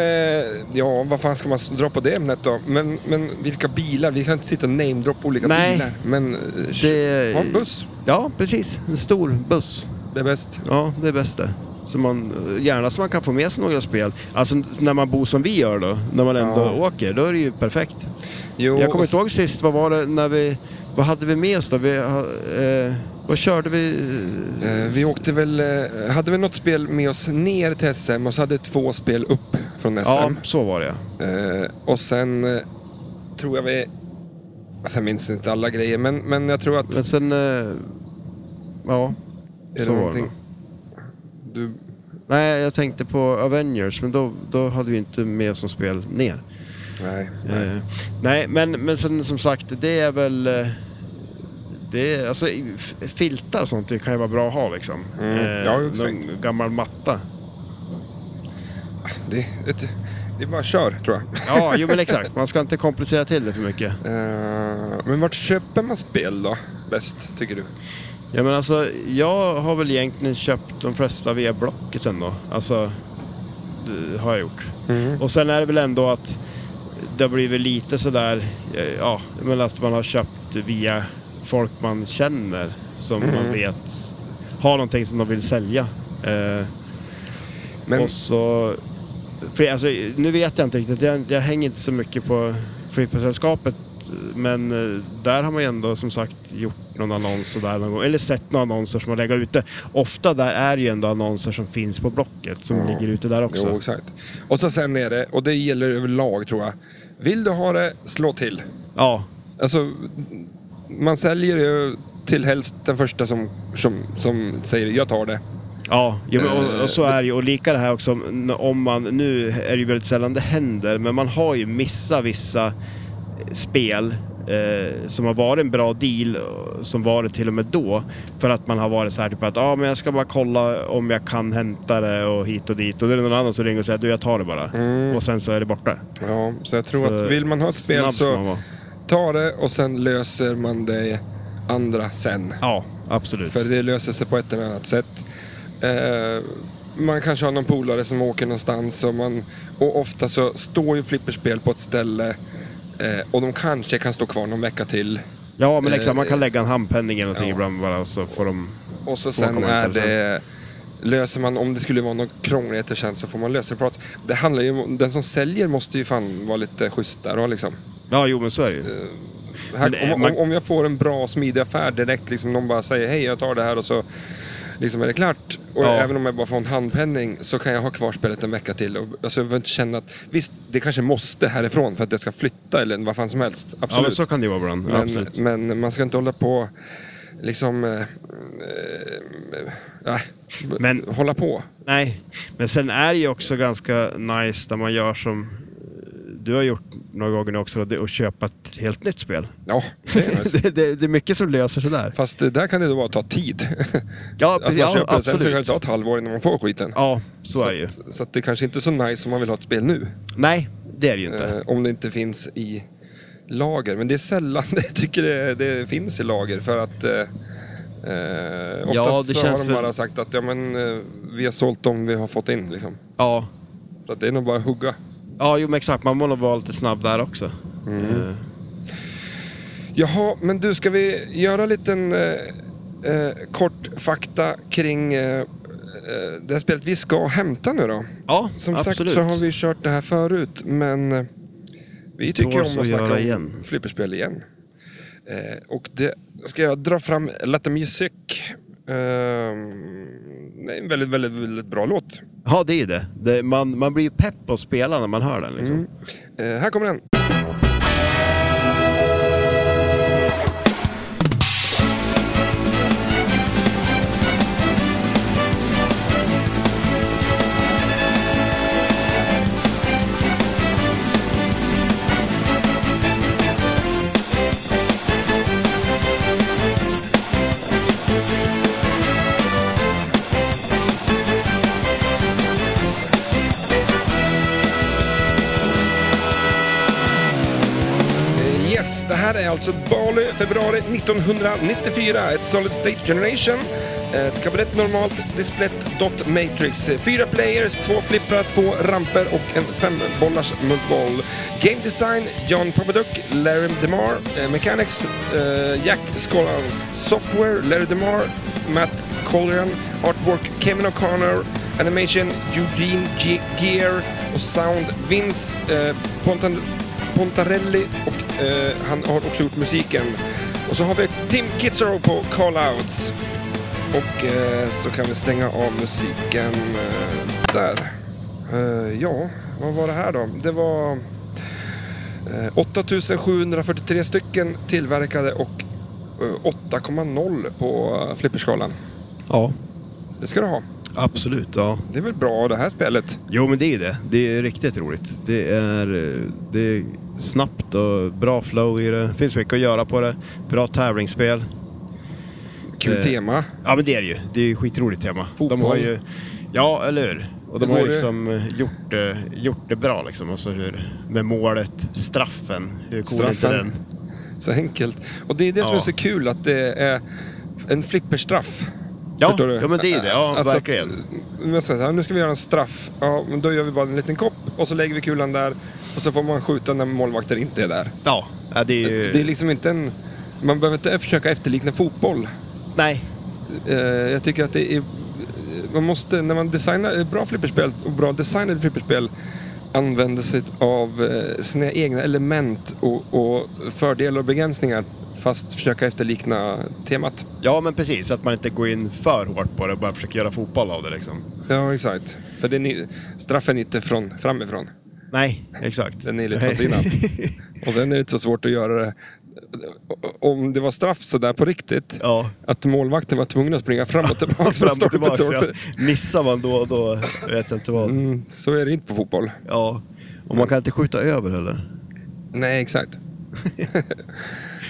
Speaker 1: ja, vad fan ska man s- dra på det ämnet då? Men, men vilka bilar? Vi kan inte sitta och namedroppa olika
Speaker 2: Nej.
Speaker 1: bilar. Men eh,
Speaker 2: Det-
Speaker 1: ja, buss,
Speaker 2: Ja, precis. En stor buss.
Speaker 1: det är bäst.
Speaker 2: Ja, det är bäst det. Så man, eh, gärna så man kan få med sig några spel. Alltså när man bor som vi gör då, när man ändå
Speaker 1: Ja.
Speaker 2: åker, då är det ju perfekt.
Speaker 1: Jo,
Speaker 2: Jag kommer
Speaker 1: och
Speaker 2: inte ihåg sist, vad var det när vi... Vad hade vi med oss då? Vi, eh, vad körde vi?
Speaker 1: Eh, Vi åkte väl, eh, hade vi något spel med oss ner till SM och så hade två spel upp från SM.
Speaker 2: ja, så var det ja.
Speaker 1: Eh, och sen eh, tror jag vi, alltså jag minns inte alla grejer, men, men jag tror att...
Speaker 2: Men sen... eh, Ja.
Speaker 1: är det
Speaker 2: så var det
Speaker 1: någonting?
Speaker 2: nog.
Speaker 1: Du,
Speaker 2: Nej, jag tänkte på Avengers, men då, då hade vi inte med oss som spel ner.
Speaker 1: nej. nej.
Speaker 2: Eh, nej, men, men sen som sagt, det är väl... eh, Det är, alltså, i- f- filtar och sånt det kan ju vara bra att ha liksom.
Speaker 1: Mm, ja, exakt.
Speaker 2: någon gammal matta.
Speaker 1: Det, är ett, det är bara kör, tror jag.
Speaker 2: Ja, jo men exakt. Man ska inte komplicera till det för mycket.
Speaker 1: Eh, men vart köper man spel då? Bäst, tycker du?
Speaker 2: Ja, men alltså, jag har väl egentligen köpt de flesta via Blocket ändå. Alltså, det har jag gjort. Och sen är det väl ändå att det har blivit lite sådär, eh, ja, men att man har köpt via folk man känner som man
Speaker 1: Mm.
Speaker 2: vet har någonting som de vill sälja. Eh,
Speaker 1: Men,
Speaker 2: Och så, för, alltså, nu vet jag inte riktigt, jag, jag hänger inte så mycket på flygplanssällskapet men eh, där har man ju ändå som sagt gjort någon annons sådär någon gång, eller sett några annonser som har legat ute. Ofta där är ju ändå annonser som finns på Blocket som
Speaker 1: Ja.
Speaker 2: ligger ute där också.
Speaker 1: jo, exakt. Och så sen är det, och det gäller överlag tror jag. Vill du ha det, slå till.
Speaker 2: Ja,
Speaker 1: Alltså, man säljer ju till helst den första som, som, som säger jag tar det.
Speaker 2: Ja, ja men, och,
Speaker 1: Eh,
Speaker 2: och så är det ju. Och lika det här också n- om man, nu är det ju väldigt sällan det händer, men man har ju missat vissa spel eh, som har varit en bra deal, och som var det till och med då. För att man har varit så här typ att ja, men jag ska bara kolla om jag kan hämta det och hit och dit. Och då är det någon annan som ringer och säger du jag tar det bara.
Speaker 1: Mm.
Speaker 2: Och sen så är det borta.
Speaker 1: Ja, så jag tror
Speaker 2: Så
Speaker 1: att vill man ha ett spel
Speaker 2: snabb ska man
Speaker 1: så
Speaker 2: vara.
Speaker 1: ta det och sen löser man det andra sen.
Speaker 2: Ja, absolut.
Speaker 1: För det löser sig på ett eller annat sätt. Eh, man kanske har någon polare som åker någonstans och, man, och ofta så står ju flipperspel på ett ställe eh, och de kanske kan stå kvar någon vecka till.
Speaker 2: Ja, men exakt.
Speaker 1: eh,
Speaker 2: Man kan lägga en handpenning eller någonting
Speaker 1: ja.
Speaker 2: ibland bara och så får de...
Speaker 1: Och så sen
Speaker 2: kommer
Speaker 1: är
Speaker 2: inte
Speaker 1: det... Löser man, om det skulle vara någon krångligheter sen så får man lösa det på något sätt. Det handlar ju om, den som säljer måste ju fan vara lite schysst där och liksom.
Speaker 2: Ja, jo men så är
Speaker 1: Eh,
Speaker 2: det ju. Men,
Speaker 1: Här,
Speaker 2: eh,
Speaker 1: om,
Speaker 2: man-
Speaker 1: om, om jag får en bra smidig affär direkt, liksom någon bara säger hej jag tar det här och så liksom är det klart. Och
Speaker 2: Ja.
Speaker 1: även om jag bara får en handpenning så kan jag ha kvar spelet en vecka till. Och, alltså, jag vill inte känna att, visst det kanske måste härifrån för att jag ska flytta eller vad fan som helst. Absolut.
Speaker 2: Ja, men så kan det ju vara ibland.
Speaker 1: Men,
Speaker 2: absolut.
Speaker 1: men man ska inte hålla på liksom... Eh, eh, eh,
Speaker 2: Men-
Speaker 1: men, hålla på.
Speaker 2: Nej, men sen är det ju också ganska nice när man gör som du har gjort några gånger nu också, då, och köpa ett helt nytt spel.
Speaker 1: Ja, det är nice.
Speaker 2: <laughs> det, det, det är mycket som löser sig där.
Speaker 1: Fast det där kan det då bara ta tid.
Speaker 2: Ja,
Speaker 1: att man
Speaker 2: precis, ja
Speaker 1: köper det sen så kan det
Speaker 2: absolut.
Speaker 1: ta ett halvår innan man får skiten.
Speaker 2: Ja, så är det ju.
Speaker 1: att, så att det kanske inte är så nice om man vill ha ett spel nu.
Speaker 2: Nej, det är det ju inte.
Speaker 1: Eh, om det inte finns i lager. Men det är sällan <laughs> jag tycker det, det finns i lager för att eh, eh, oftast
Speaker 2: Ja, det
Speaker 1: så
Speaker 2: känns
Speaker 1: har de
Speaker 2: väl-
Speaker 1: bara sagt att ja, men, eh, vi har sålt dem vi har fått in. Liksom.
Speaker 2: Ja.
Speaker 1: Så att det är nog bara att hugga.
Speaker 2: Ja, jo men exakt. Man måste vara lite snabb där också.
Speaker 1: Mm.
Speaker 2: Eh,
Speaker 1: Jaha, men du, ska vi göra en liten eh, eh, kort fakta kring eh, eh, det här spelet vi ska hämta nu då?
Speaker 2: Ja,
Speaker 1: Som
Speaker 2: absolut.
Speaker 1: sagt så har vi kört det här förut, men eh, vi
Speaker 2: Tåls
Speaker 1: tycker om att
Speaker 2: att
Speaker 1: snacka
Speaker 2: göra
Speaker 1: om
Speaker 2: igen.
Speaker 1: flipperspel igen. Eh, och det, ska jag dra fram Let the Music. Eh, det är en väldigt, väldigt, väldigt bra låt.
Speaker 2: Ja, det är det. det man, man blir ju pepp på att spela när man hör den. Liksom.
Speaker 1: Mm. Eh, här kommer den. Eh, Yes, det här är alltså Bali, februari 1994. Ett Solid State Generation. Ett kabinett normalt, displett, dot matrix. Eh, Fyra players, två flipprar, två ramper och en fembollars multiboll. Game design, John Papaduk, Larry DeMar. Eh, Mechanics, eh, Jack Skollan. Software, Larry DeMar, Matt Collian. Artwork, Kevin O'Connor. Animation, Eugene G- Gear. Och sound, Vince eh, Pontan Pontarelli och eh, han har också gjort musiken. Och så har vi Tim Kitzrow på Call Outs. Och eh, så kan vi stänga av musiken eh, där. Eh, ja, vad var det här då? Det var eh, 8743 stycken tillverkade och eh, 8,0 på eh, flipperskalan.
Speaker 2: Ja,
Speaker 1: Det ska du ha.
Speaker 2: absolut. Ja.
Speaker 1: Det är väl bra det här spelet.
Speaker 2: Jo, men det är ju det. Det är riktigt roligt. Det är, eh, det är snabbt och bra flow i det. finns mycket att göra på det. Bra tävlingsspel.
Speaker 1: Kul
Speaker 2: Eh,
Speaker 1: tema.
Speaker 2: Ja, men det är det ju. Det är ju skitroligt tema.
Speaker 1: Fotboll.
Speaker 2: De har ju, ja, eller hur? Och de
Speaker 1: Det
Speaker 2: har ju
Speaker 1: går ju.
Speaker 2: liksom eh, gjort det, gjort det bra liksom. Och så hur, med målet, straffen. Hur cool är inte
Speaker 1: Straffen.
Speaker 2: den?
Speaker 1: Så enkelt. Och det är det som
Speaker 2: Ja.
Speaker 1: är så kul, att det är en flipperstraff.
Speaker 2: Ja,
Speaker 1: Förstår du?
Speaker 2: ja, men det är det. Ja,
Speaker 1: Alltså,
Speaker 2: verkligen.
Speaker 1: men jag säger så här, nu ska vi göra en straff. Ja, men då gör vi bara en liten kopp och så lägger vi kulan där. Och så får man skjuta när målvakten inte är där.
Speaker 2: Ja, ja, det är ju...
Speaker 1: Det är liksom inte en... Man behöver inte försöka efterlikna fotboll.
Speaker 2: Nej,
Speaker 1: Eh, jag tycker att det är... Man måste, när man designar ett bra flipperspel och bra designade flipperspel använder sig av eh, sina egna element och, och fördelar och begränsningar fast försöka efterlikna temat.
Speaker 2: Ja, men precis. Att man inte går in för hårt på det och bara försöker göra fotboll av det liksom.
Speaker 1: Ja, exakt. För det är ni, straffen är inte från, framifrån.
Speaker 2: Nej, exakt.
Speaker 1: Den är lite från sidan. Och sen är det inte så svårt att göra det. Om det var straff sådär på riktigt,
Speaker 2: <laughs> ja.
Speaker 1: att målvakten var tvungen att springa fram och tillbaka för
Speaker 2: Fram
Speaker 1: att
Speaker 2: <laughs>
Speaker 1: starta
Speaker 2: och tillbaka. Ja.
Speaker 1: tillbaka.
Speaker 2: Missar man då och då vet jag inte vad.
Speaker 1: Mm, så är det inte på fotboll.
Speaker 2: Ja. Och man kan inte skjuta över heller.
Speaker 1: Nej, <laughs> exakt.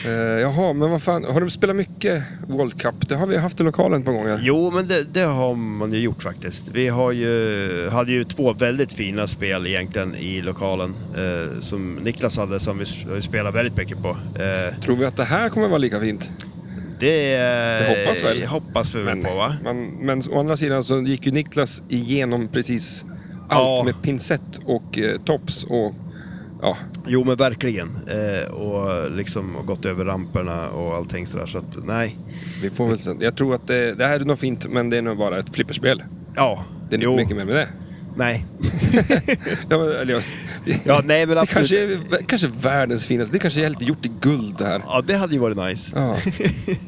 Speaker 1: uh, jaha, men vad fan, har du spelat mycket World Cup? Det har vi haft i lokalen på gånger.
Speaker 2: Jo, men det, det har man ju gjort faktiskt. Vi har ju, hade ju två väldigt fina spel egentligen i lokalen. Eh, som Niklas hade, som vi s- spelade väldigt mycket på. Eh,
Speaker 1: Tror vi att det här kommer vara lika fint?
Speaker 2: det, eh,
Speaker 1: Det hoppas väl.
Speaker 2: hoppas vi väl
Speaker 1: Men-
Speaker 2: på va?
Speaker 1: Men, men å andra sidan så gick ju Niklas igenom precis allt
Speaker 2: Ja.
Speaker 1: med pincett och eh, tops och ja,
Speaker 2: Jo men verkligen. Eh, och liksom och gått över ramperna och allting sådär. Så att nej.
Speaker 1: vi får väl se. Jag tror att det, det här är nog fint men det är nog bara ett flipperspel.
Speaker 2: Ja.
Speaker 1: Det är inte
Speaker 2: jo,
Speaker 1: mycket mer med det.
Speaker 2: Nej.
Speaker 1: Ja, men, eller, jag-
Speaker 2: Ja, nej men
Speaker 1: <laughs> det
Speaker 2: absolut.
Speaker 1: kanske är, kanske är världens finaste. Det kanske är helt gjort i guld det här.
Speaker 2: Ja det hade ju varit nice.
Speaker 1: Ja.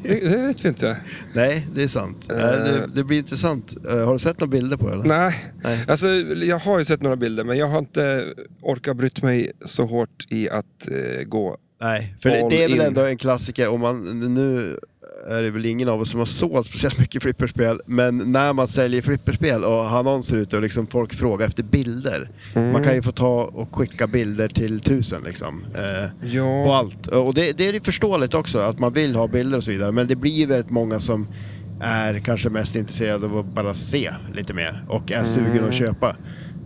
Speaker 1: Det, det vet vi inte.
Speaker 2: Nej, det är sant.
Speaker 1: Eh.
Speaker 2: Eh, det, det blir intressant. Eh, har du sett några bilder på det? Eller?
Speaker 1: Nej.
Speaker 2: Nej.
Speaker 1: Alltså, jag har ju sett några bilder men jag har inte orkat brytt mig så hårt i att eh, gå.
Speaker 2: Nej, för det,
Speaker 1: All
Speaker 2: det är väl
Speaker 1: in.
Speaker 2: ändå en klassiker. Om man, nu är det väl ingen av oss som har sålt speciellt mycket flipperspel, men när man säljer flipperspel och har annonser ute och liksom folk frågar efter bilder. Man
Speaker 1: Mm.
Speaker 2: kan ju få ta och skicka bilder till tusen liksom. Eh, på
Speaker 1: Ja,
Speaker 2: allt. Och det, det är ju förståeligt också att man vill ha bilder och så vidare. Men det blir ju väldigt många som är kanske mest intresserade av att bara se lite mer och
Speaker 1: Mm.
Speaker 2: är sugen att köpa.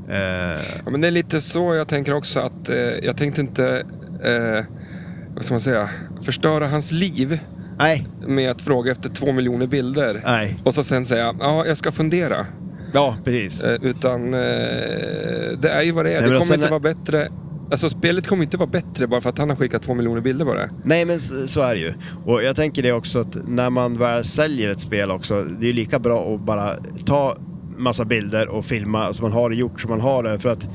Speaker 2: Eh,
Speaker 1: ja, men det är lite så jag tänker också att eh, jag tänkte inte, eh, vad ska man säga, förstöra hans liv
Speaker 2: nej,
Speaker 1: med att fråga efter två miljoner bilder.
Speaker 2: nej.
Speaker 1: Och så sen säga, ja jag ska fundera.
Speaker 2: Ja, precis.
Speaker 1: Eh, Utan eh, det är ju vad det är.
Speaker 2: Nej, men
Speaker 1: det kommer
Speaker 2: och sen
Speaker 1: inte
Speaker 2: är-
Speaker 1: vara bättre. Alltså spelet kommer inte vara bättre bara för att han har skickat två miljoner bilder på det.
Speaker 2: Nej men så, så är det ju. Och jag tänker det också att när man väl säljer ett spel också, det är ju lika bra att bara ta massa bilder och filma så man har det gjort så man har det. För att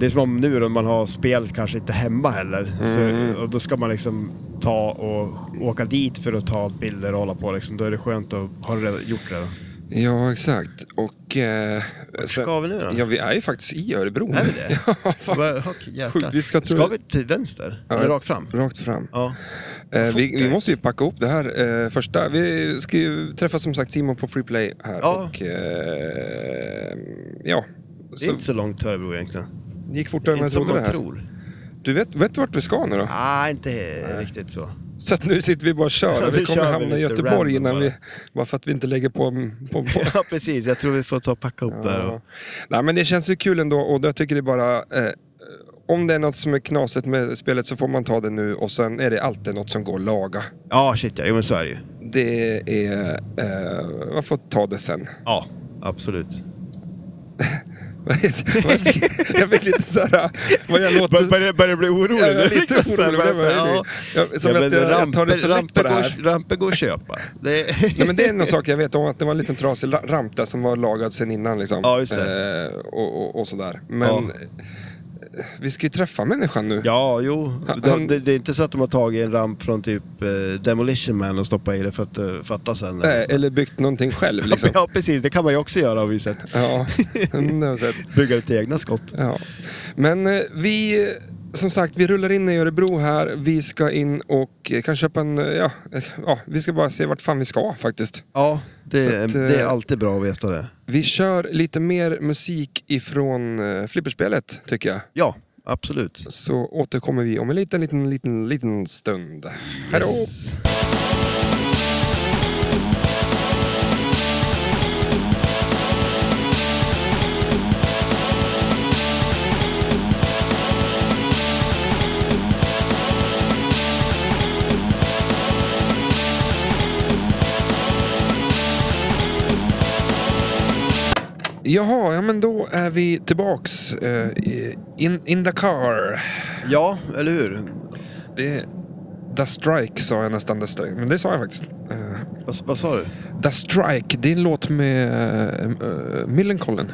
Speaker 2: det är som om nu då man har spelet kanske inte hemma heller.
Speaker 1: Mm.
Speaker 2: Så, och då ska man liksom ta och åka dit för att ta bilder och hålla på liksom. Då är det skönt att ha det redan, gjort redan.
Speaker 1: Ja, exakt. Och... Eh,
Speaker 2: Vart
Speaker 1: sen-
Speaker 2: ska vi nu då?
Speaker 1: Ja, vi är ju faktiskt i Örebro.
Speaker 2: Är vi det?
Speaker 1: <laughs> ja, fan.
Speaker 2: Vad- okej, jäklar.
Speaker 1: Sjukt, vi ska till-
Speaker 2: ska vi till vänster?
Speaker 1: Ja. Mm.
Speaker 2: Eller rakt fram?
Speaker 1: Rakt fram.
Speaker 2: Ja.
Speaker 1: Eh, vi, vi
Speaker 2: Fort.
Speaker 1: måste ju packa ihop det här eh, första. Vi ska ju träffa som sagt Simon på Freeplay här.
Speaker 2: Ja.
Speaker 1: Och, eh, ja.
Speaker 2: Det är
Speaker 1: Så
Speaker 2: inte så långt till Örebro egentligen.
Speaker 1: det gick fortare än
Speaker 2: inte
Speaker 1: jag
Speaker 2: som
Speaker 1: trodde det
Speaker 2: man
Speaker 1: här.
Speaker 2: tror.
Speaker 1: Du vet, vet du vart vi ska nu då?
Speaker 2: Ah, inte
Speaker 1: Nej.
Speaker 2: riktigt så. <laughs>
Speaker 1: Så att nu sitter vi bara och kör.
Speaker 2: Ja,
Speaker 1: och vi
Speaker 2: nu
Speaker 1: kommer
Speaker 2: kör vi
Speaker 1: hamna i
Speaker 2: lite
Speaker 1: Göteborg
Speaker 2: random
Speaker 1: innan
Speaker 2: bara.
Speaker 1: vi... Bara för att vi inte lägger på... på, på.
Speaker 2: Ja, precis. Jag tror vi får ta och packa ihop <laughs> där.
Speaker 1: Ja.
Speaker 2: Och...
Speaker 1: Nej, men det känns ju kul ändå och jag tycker det är bara... Eh, om det är något som är knasigt med spelet så får man ta det nu och sen är det alltid något som går att laga.
Speaker 2: Ja, shit ja. Jo, men så är det ju.
Speaker 1: Det är... Eh, man får ta det sen. <laughs>
Speaker 2: Ja, absolut.
Speaker 1: jag fick lite såhär... Vad jag låter...
Speaker 2: Börjar börjar bli orolig
Speaker 1: Jag är lite
Speaker 2: liksom, <laughs> så här,
Speaker 1: orolig.
Speaker 2: bara
Speaker 1: men
Speaker 2: så
Speaker 1: jag-
Speaker 2: här, ja.
Speaker 1: jag- Som
Speaker 2: Ja, men
Speaker 1: att jag, jag tar det så ramp på det här.
Speaker 2: Ramper går, ramper går att köpa. Det...
Speaker 1: Nej, men det är någon sak jag vet om att det var en liten trasig ra- ramp där som var lagad sen innan. Liksom.
Speaker 2: Ja, just
Speaker 1: Eh, och, och, och sådär. Men
Speaker 2: Ja.
Speaker 1: eh, vi ska ju träffa människan nu.
Speaker 2: <laughs> Ja, jo.
Speaker 1: Han-
Speaker 2: Det, det, det är inte så att de har tagit en ramp från typ eh, Demolition Man och stoppat i det för att eh, fatta sen.
Speaker 1: Eh, eller byggt någonting själv liksom.
Speaker 2: <laughs> Ja, precis. Det kan man ju också göra har vi sett.
Speaker 1: Ja, mm, det har jag sett.
Speaker 2: Bygga lite egna skott.
Speaker 1: Ja. Men eh, vi, eh, som sagt, vi rullar in i Örebro här. Vi ska in och eh, kan köpa en, eh, ja, eh, ja, vi ska bara se vart fan vi ska faktiskt.
Speaker 2: Ja,
Speaker 1: Så
Speaker 2: det,
Speaker 1: att, eh,
Speaker 2: det är alltid bra att veta det.
Speaker 1: Vi kör lite mer musik ifrån eh, flipperspelet tycker jag.
Speaker 2: Ja, absolut.
Speaker 1: Så återkommer vi om en liten, liten, liten, liten stund. Hej då!
Speaker 2: Yes.
Speaker 1: Jaha, ja men då är vi tillbaks eh, i- in, in the car.
Speaker 2: Ja, eller hur?
Speaker 1: Det, the Strike sa jag nästan, the strike. men det sa jag faktiskt. Eh,
Speaker 2: Vad, vad sa du?
Speaker 1: the Strike, det är en låt med eh, eh, Millencolin.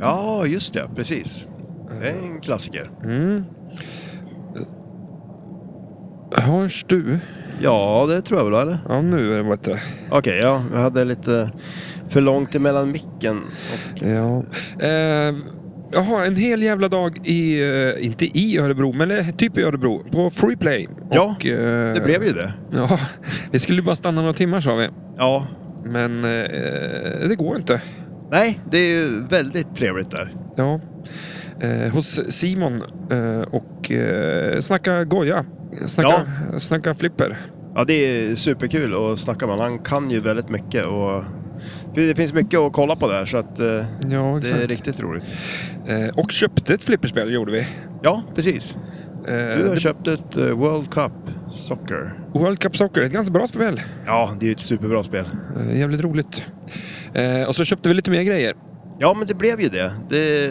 Speaker 2: Ja, just det. Precis. Det är en klassiker.
Speaker 1: Mm. Eh, Hörs du?
Speaker 2: Ja, det tror jag väl, eller?
Speaker 1: Ja, nu är det bättre.
Speaker 2: Okej, ja. Jag hade lite för långt emellan micken. Och...
Speaker 1: Ja. Eh, jaha, en hel jävla dag i, eh, inte i Örebro, men eh, typ i Örebro, på Freeplay.
Speaker 2: Ja,
Speaker 1: Och, eh,
Speaker 2: Det blev ju det.
Speaker 1: <laughs> Ja, vi skulle ju bara stanna några timmar sa vi.
Speaker 2: Ja.
Speaker 1: Men eh, det går inte.
Speaker 2: Nej, det är ju väldigt trevligt där.
Speaker 1: Ja. Eh, hos Simon eh, och eh, snacka goja. Snacka, snacka flipper.
Speaker 2: Ja, det är superkul att snacka med honom. Han kan ju väldigt mycket och det finns mycket att kolla på där så att eh,
Speaker 1: Ja,
Speaker 2: det är riktigt roligt.
Speaker 1: Eh, och köpte ett flipperspel gjorde vi.
Speaker 2: Ja, precis.
Speaker 1: Eh,
Speaker 2: Du har
Speaker 1: det-
Speaker 2: köpt ett eh, World Cup Soccer.
Speaker 1: World Cup Soccer, ett ganska bra spel.
Speaker 2: Ja, det är ju ett superbra spel.
Speaker 1: Eh, jävligt roligt. Eh, och så köpte vi lite mer grejer.
Speaker 2: Ja, men det blev ju det. det är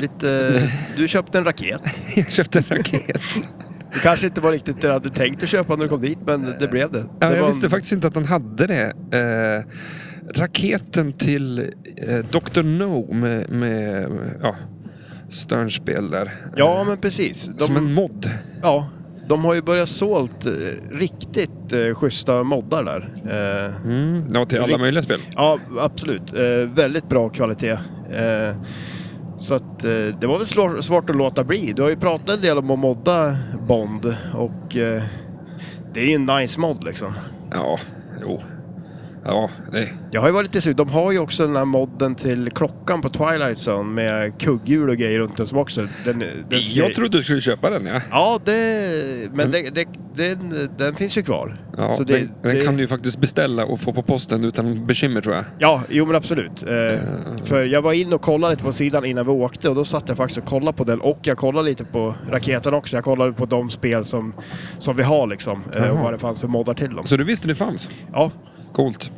Speaker 2: lite... Du köpte en raket.
Speaker 1: <laughs> Jag köpte en
Speaker 2: <laughs>
Speaker 1: raket.
Speaker 2: Det kanske inte var riktigt det du tänkte köpa när du kom dit, men det blev det.
Speaker 1: Ja,
Speaker 2: det
Speaker 1: jag
Speaker 2: var
Speaker 1: visste
Speaker 2: en...
Speaker 1: faktiskt inte att han hade det. Eh, raketen till eh, Dr. No med, med ja, Sternspel där.
Speaker 2: Ja, men precis.
Speaker 1: Som
Speaker 2: De,
Speaker 1: en mod.
Speaker 2: ja, de har ju börjat sålt eh, riktigt eh, schyssta moddar där. Eh,
Speaker 1: Mm, ja, till alla
Speaker 2: Rikt-
Speaker 1: möjliga spel.
Speaker 2: ja, absolut. Eh, väldigt bra kvalitet. Eh, så att eh, det var väl slår, svårt att låta bli. Du har ju pratat en del om att modda Bond och eh, det är ju en nice mod liksom.
Speaker 1: Ja, jo. Ja, det.
Speaker 2: Jag har ju varit lite sugen. De har ju också den här modden till klockan på Twilight Zone med kugghjul och grejer runt den som också... Den, den ser-
Speaker 1: Jag trodde du skulle köpa den, ja.
Speaker 2: Ja, det, men det, det, den, den finns ju kvar.
Speaker 1: ja
Speaker 2: Så det-
Speaker 1: den, den
Speaker 2: det-
Speaker 1: kan du ju faktiskt beställa och få på posten utan bekymmer, tror jag.
Speaker 2: Ja, jo men absolut. Eh, för jag var in och kollade lite på sidan innan vi åkte och då satt jag faktiskt och kollade på den och jag kollade lite på raketen också. Jag kollade på de spel som, som vi har liksom eh, och
Speaker 1: Jaha.
Speaker 2: vad det fanns för moddar till dem.
Speaker 1: Så du visste det fanns?
Speaker 2: Ja,
Speaker 1: Coolt.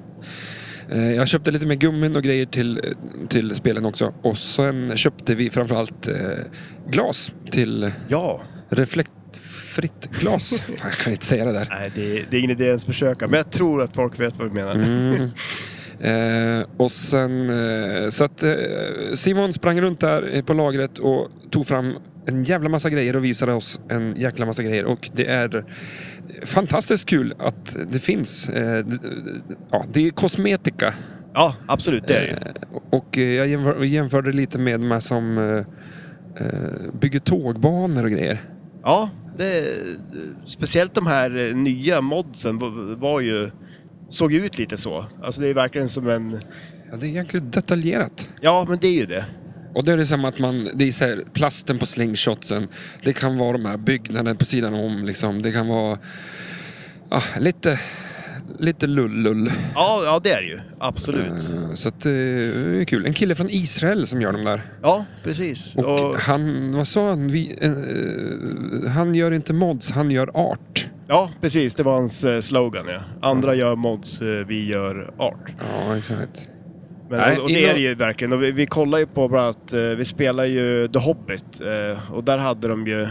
Speaker 1: Eh, Jag köpte lite mer gummin och grejer till, till spelen också. Och sen köpte vi framförallt eh, glas till
Speaker 2: Ja,
Speaker 1: reflektfritt glas. Fan, jag kan inte säga det där.
Speaker 2: nej, det, det är ingen idé ens försöka. Men jag tror att folk vet vad du menar.
Speaker 1: Mm. Eh, och sen, eh, så att eh, Simon sprang runt där eh, på lagret och tog fram en jävla massa grejer och visade oss en jäkla massa grejer. Och det är fantastiskt kul att det finns. Eh, d- d- ja, det är kosmetika.
Speaker 2: Ja, absolut, det är det ju.
Speaker 1: Eh, och eh, jag jämför, jämförde lite med de här som eh, eh, bygger tågbanor och grejer.
Speaker 2: Ja, det, speciellt de här eh, nya modsen var, var ju, såg ju ut lite så. Alltså det är verkligen som en,
Speaker 1: Ja, det är egentligen detaljerat.
Speaker 2: ja men det är ju det.
Speaker 1: Och då är det som att man, det är så här, plasten på slingshotsen, det kan vara de här byggnaderna på sidan om liksom, det kan vara ah, lite, lite lullull.
Speaker 2: Ja, ja det är det ju, absolut.
Speaker 1: Eh, Så att eh, det är kul. En kille från Israel som gör de där.
Speaker 2: Ja, precis.
Speaker 1: Och
Speaker 2: Och,
Speaker 1: han, vad sa han? Vi, eh, han gör inte mods, han gör art.
Speaker 2: ja, precis, det var hans eh, slogan ja. Andra gör mods, eh, vi gör art.
Speaker 1: Ja, exakt.
Speaker 2: Men,
Speaker 1: Nej,
Speaker 2: och, och det
Speaker 1: innan-
Speaker 2: är det ju verkligen. Och vi, vi kollar ju på bland annat, eh, vi spelar ju The Hobbit eh, och där hade de ju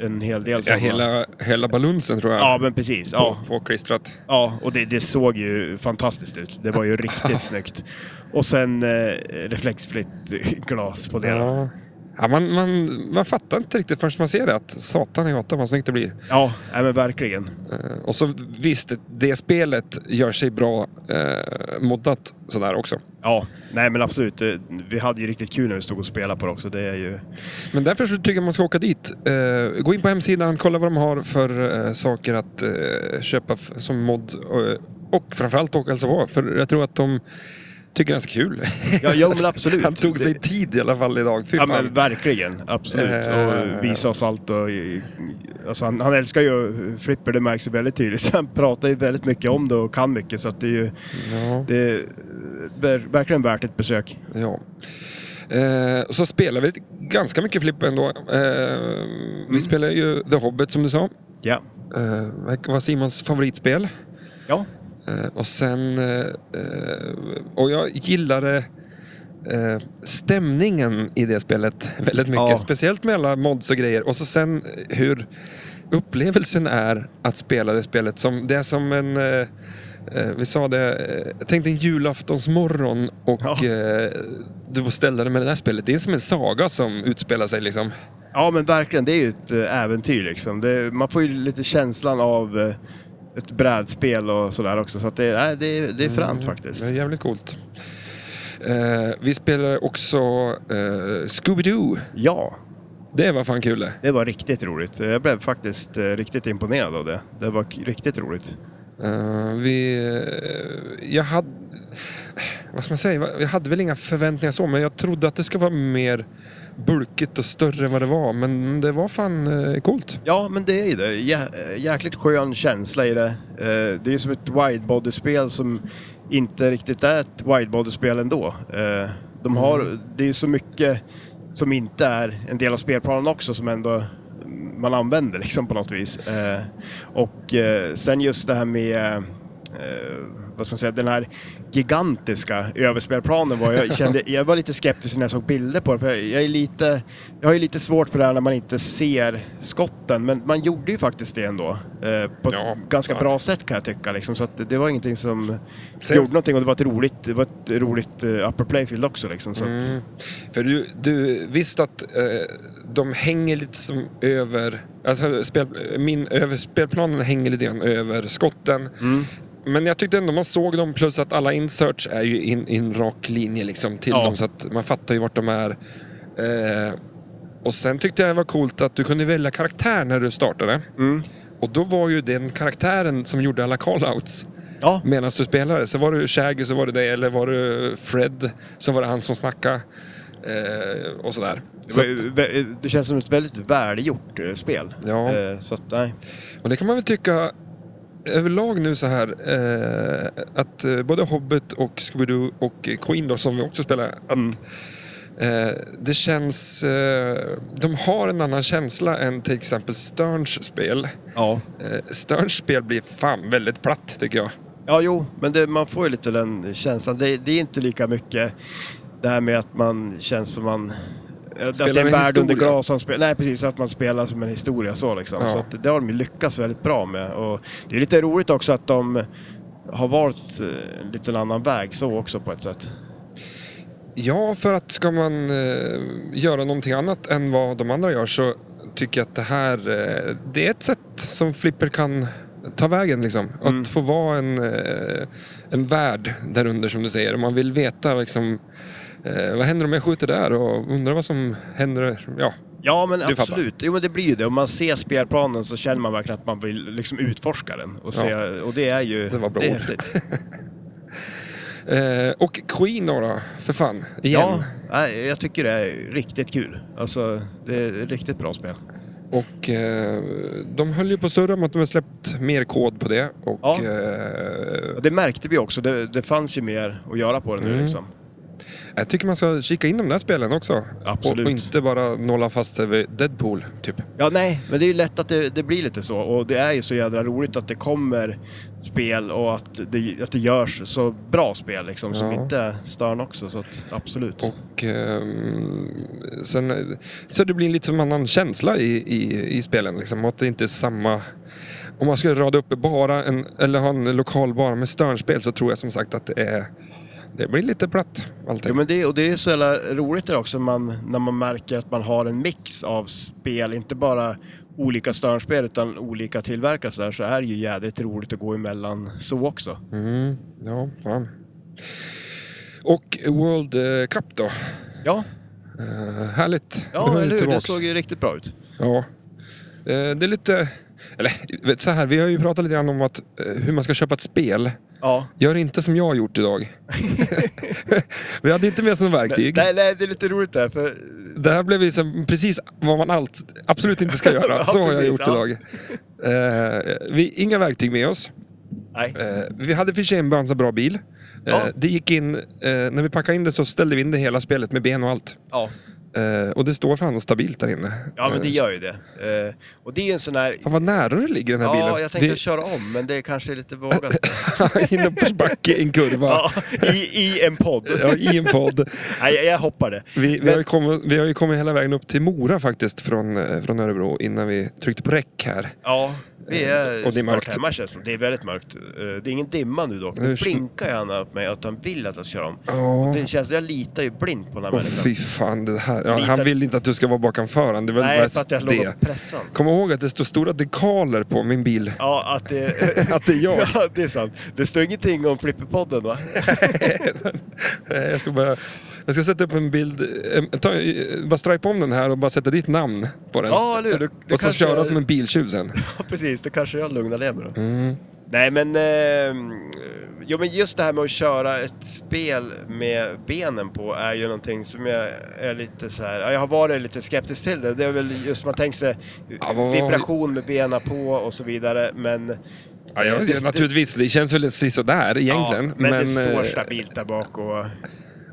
Speaker 2: en hel del
Speaker 1: Ja,
Speaker 2: sådana.
Speaker 1: hela, hela balunsen tror jag.
Speaker 2: Ja, men precis. Ja,
Speaker 1: På, påklistrat.
Speaker 2: Ja, och det, det såg ju fantastiskt ut. Det var
Speaker 1: <laughs>
Speaker 2: ju riktigt snyggt. Och sen eh, reflexfritt glas på det. Ja,
Speaker 1: Ja. Ja, man, man, man fattar inte riktigt förrän man ser det att satan i gatan vad snyggt det blir.
Speaker 2: ja nej, men verkligen.
Speaker 1: Eh, Och så visst, det spelet gör sig bra eh, moddat sådär också.
Speaker 2: Ja, nej men absolut. Eh, Vi hade ju riktigt kul när vi stod och spelade på det också. Det är ju...
Speaker 1: Men därför så tycker jag man ska åka dit. Eh, gå in på hemsidan, kolla vad de har för eh, saker att eh, köpa f- som mod. Eh, och framförallt åka och hälsa på, för jag tror att de tycker det är ganska kul.
Speaker 2: Ja, jo, men
Speaker 1: <laughs>
Speaker 2: absolut.
Speaker 1: Han tog sig
Speaker 2: Det-
Speaker 1: tid i alla fall idag, fy
Speaker 2: Ja
Speaker 1: fan.
Speaker 2: men verkligen, absolut.
Speaker 1: Eh.
Speaker 2: Och visa oss allt och... Alltså han, han älskar ju flipper, det märks ju väldigt tydligt. <laughs> Han pratar ju väldigt mycket om det och kan mycket så att det är ju...
Speaker 1: Ja,
Speaker 2: Det är ver- verkligen värt ett besök.
Speaker 1: ja. Eh, och så spelar vi ganska mycket flipp ändå. Eh, Vi spelar ju The Hobbit som du sa.
Speaker 2: Ja.
Speaker 1: Eh, verkar vara Simons favoritspel.
Speaker 2: Ja.
Speaker 1: Eh, och sen... Eh, eh, och jag gillade eh, stämningen i det spelet väldigt mycket.
Speaker 2: Ja.
Speaker 1: Speciellt med alla mods och grejer. Och så sen eh, hur upplevelsen är att spela det spelet. Som, det är som en... Eh, eh, vi sa det, eh, jag tänkte en julaftonsmorgon och
Speaker 2: Ja.
Speaker 1: eh, du beställde det med det här spelet. Det är som en saga som utspelar sig liksom.
Speaker 2: Ja men verkligen, det är ju ett eh, äventyr liksom. Det, man får ju lite känslan av eh, ett brädspel och sådär också. Så att det, nej, det, är- det är fränt faktiskt.
Speaker 1: Det är jävligt coolt. Eh, vi spelade också eh, Scooby-Doo.
Speaker 2: Ja,
Speaker 1: Det var fan kul det.
Speaker 2: det var riktigt roligt. Jag blev faktiskt eh, riktigt imponerad av det. Det var k- riktigt roligt.
Speaker 1: Eh, vi, eh, jag hade... Vad ska man säga? Jag hade väl inga förväntningar så, men jag trodde att det skulle vara mer bulkigt och större än vad det var. Men det var fan eh, coolt.
Speaker 2: Ja, men det är ju det. Jä, eh, jäkligt skön känsla i det. Eh, det är ju som ett widebody-spel som inte riktigt är ett widebody-spel ändå. Eh, de har, Det är ju så mycket som inte är en del av spelplanen också som ändå mm, man använder liksom på något vis. Eh, och eh, sen just det här med eh, vad ska man säga, den här gigantiska överspelplanen var jag kände, jag var lite skeptisk när jag såg bilder på det, för jag, jag är lite, jag har ju lite svårt för det här när man inte ser skotten, men man gjorde ju faktiskt det ändå, eh, på ett
Speaker 1: Ja.
Speaker 2: ganska
Speaker 1: Ja.
Speaker 2: bra sätt kan jag tycka liksom, så att det- det var ingenting som
Speaker 1: Sen-
Speaker 2: gjorde någonting och det var ett roligt, det var ett roligt eh, upper playfield också liksom, så att,
Speaker 1: Mm. För du, du visst att eh, de hänger lite som över... Alltså spel, min över, spelplanen hänger lite grann över skotten.
Speaker 2: Mm.
Speaker 1: Men jag tyckte ändå man såg dem plus att alla inserts är ju in, in rak linje liksom till
Speaker 2: Ja.
Speaker 1: dem så att man fattar ju vart de är. Eh, och sen tyckte jag det var coolt att du kunde välja karaktär när du startade.
Speaker 2: Mm.
Speaker 1: Och då var ju den karaktären som gjorde alla callouts
Speaker 2: Ja,
Speaker 1: medan du spelade. Så var du Shaggy så var det det, eller var du Fred så var det han som snackade. Eh, och sådär.
Speaker 2: det,
Speaker 1: Så
Speaker 2: var,
Speaker 1: att,
Speaker 2: ju vä- det känns som ett väldigt välgjort eh, spel.
Speaker 1: ja.
Speaker 2: Eh, Så att, nej.
Speaker 1: Och det kan man väl tycka överlag nu så här eh, att eh, både Hobbit och Scooby-Doo och Queen då, som vi också spelar, att
Speaker 2: Mm.
Speaker 1: eh, det känns... Eh, de har en annan känsla än till exempel Sterns spel.
Speaker 2: Ja.
Speaker 1: Eh, Sterns spel blir fan väldigt platt tycker jag.
Speaker 2: Ja, jo, men det, man får ju lite den känslan. Det, det är inte lika mycket det här med att man känns som man... Att det
Speaker 1: Spelar
Speaker 2: är en
Speaker 1: en
Speaker 2: värld under
Speaker 1: historia.
Speaker 2: glas som spelar. Nej, precis. Att man spelar som en historia så liksom.
Speaker 1: Ja.
Speaker 2: Så att det har de ju lyckats väldigt bra med. Och det är lite roligt också att de har valt eh, en liten annan väg så också på ett sätt.
Speaker 1: Ja, för att ska man eh, göra någonting annat än vad de andra gör så tycker jag att det här eh, det är ett sätt som Flipper kan ta vägen. Liksom.
Speaker 2: Mm.
Speaker 1: Att få vara en, eh, en värld där under som du säger. Om man vill veta liksom, eh, vad händer om jag skjuter där och undrar vad som händer. Ja,
Speaker 2: Ja, men
Speaker 1: Du fattar.
Speaker 2: absolut. Jo, men det blir ju det. Om man ser spelplanen så känner man verkligen att man vill liksom utforska den. Och, se, och det är ju...
Speaker 1: Det var bra
Speaker 2: det är
Speaker 1: ord.
Speaker 2: häftigt.
Speaker 1: Eh, och Queen då, då för fan. Igen.
Speaker 2: Ja, nej, jag tycker det är riktigt kul. Alltså, det är ett riktigt bra spel.
Speaker 1: Och eh, de höll ju på att surra om att de har släppt mer kod på det. Och,
Speaker 2: Ja.
Speaker 1: eh,
Speaker 2: Och det märkte vi också, det, det fanns ju mer att göra på den nu
Speaker 1: Mm.
Speaker 2: liksom.
Speaker 1: jag tycker man ska kika in de där spelen också. Och,
Speaker 2: Absolut.
Speaker 1: och inte bara nolla fast sig vid Deadpool, typ.
Speaker 2: Ja, nej, men det är ju lätt att det, det blir lite så. Och det är ju så jädra roligt att det kommer spel och att det, att det görs så bra spel liksom, som
Speaker 1: Ja.
Speaker 2: inte stör också. Så att, absolut.
Speaker 1: Och ehm, sen, så det blir lite som en annan känsla i, i, i spelen liksom. Att det inte är samma... Om man skulle rada upp bara en, eller ha en lokal bara med Sternspel så tror jag som sagt att det är... Det blir lite platt allting.
Speaker 2: Jo, men det, och det är så jävla roligt det också man, när man märker att man har en mix av spel, inte bara olika störnspel utan olika tillverkare så, här, så är det ju jädrigt roligt att gå emellan så också.
Speaker 1: Mm, ja, fan. Och World eh, Cup då.
Speaker 2: Ja,
Speaker 1: Eh, Härligt. Nu
Speaker 2: ja
Speaker 1: är
Speaker 2: eller hur? Det
Speaker 1: tillbaks.
Speaker 2: såg ju riktigt bra ut.
Speaker 1: Ja. Eh, Det är lite... Eller vet, så här, vi har ju pratat lite grann om att, eh, hur man ska köpa ett spel.
Speaker 2: Ja.
Speaker 1: Gör inte som jag har gjort
Speaker 2: <laughs>
Speaker 1: idag. vi hade inte med som verktyg.
Speaker 2: Nej, nej, det är lite roligt där för
Speaker 1: Det här blev liksom precis vad man allt, absolut inte ska göra.
Speaker 2: <laughs> Ja,
Speaker 1: Så har jag
Speaker 2: precis,
Speaker 1: gjort
Speaker 2: ja.
Speaker 1: idag. Eh, vi, inga verktyg med oss.
Speaker 2: nej.
Speaker 1: Eh, vi hade för sig en ganska bra bil. Eh,
Speaker 2: Ja.
Speaker 1: Det gick in, eh, när vi packade in det så ställde vi in det hela spelet med ben och allt.
Speaker 2: Ja.
Speaker 1: Eh, och det står fan stabilt där inne.
Speaker 2: ja, men det
Speaker 1: Eh,
Speaker 2: gör ju det. Eh, och det är ju en sån här
Speaker 1: Fan vad nära det ligger den här bilen.
Speaker 2: Ja, jag tänkte
Speaker 1: det
Speaker 2: köra om, men det är kanske är lite <laughs> vågat.
Speaker 1: <laughs> är innanförsbacke i en kurva.
Speaker 2: ja, i, I en podd.
Speaker 1: Ja, I en podd.
Speaker 2: Nej, jag, jag hoppar det.
Speaker 1: Vi, vi,
Speaker 2: Men-
Speaker 1: har ju kommit, vi har ju kommit hela vägen upp till Mora faktiskt från, eh, från Örebro innan vi tryckte på räck här.
Speaker 2: Ja, vi är
Speaker 1: Eh, Och det är mörkt.
Speaker 2: snart hemma känns det som. Det är väldigt mörkt. Eh, Det är ingen dimma nu dock. Nu
Speaker 1: Nu-
Speaker 2: blinkar gärna på mig att han vill att jag ska köra om.
Speaker 1: Ja,
Speaker 2: Det känns, jag litar ju blint på den här
Speaker 1: Åh,
Speaker 2: människan.
Speaker 1: fy fan. Det här. Ja,
Speaker 2: Lite-
Speaker 1: han vill inte att du ska vara bakanförande. Det är väl
Speaker 2: Nej, för
Speaker 1: mest
Speaker 2: att jag låg
Speaker 1: det.
Speaker 2: och pressade honom.
Speaker 1: Kom ihåg att det står stora dekaler på min
Speaker 2: <laughs>
Speaker 1: bil.
Speaker 2: Ja,
Speaker 1: <laughs>
Speaker 2: att det... <laughs>
Speaker 1: Att det är jag.
Speaker 2: ja, det är sant. Det står ingenting om Flipperpodden va?
Speaker 1: Eh, Jag ska, bara, jag ska sätta upp en bild, eh, ta, eh, bara stripa om den här och bara sätta ditt namn på den.
Speaker 2: Ja, eller hur? Du, du
Speaker 1: och så
Speaker 2: kanske-
Speaker 1: köra som en biltjuv sen.
Speaker 2: <laughs> Ja, precis. Då kanske jag lugnar ner mig då.
Speaker 1: Mm.
Speaker 2: Nej, men... Eh, jo, men just det här med att köra ett spel med benen på är ju någonting som jag är lite så här... ja, Jag har varit lite skeptisk till det. Det är väl just man tänker sig
Speaker 1: Ja, vad-
Speaker 2: vibration med benen på och så vidare, men...
Speaker 1: Ja, jag,
Speaker 2: Det-
Speaker 1: naturligtvis, det känns väl sådär egentligen.
Speaker 2: Eh, Ja, men, det
Speaker 1: eh,
Speaker 2: står stabilt där bak och...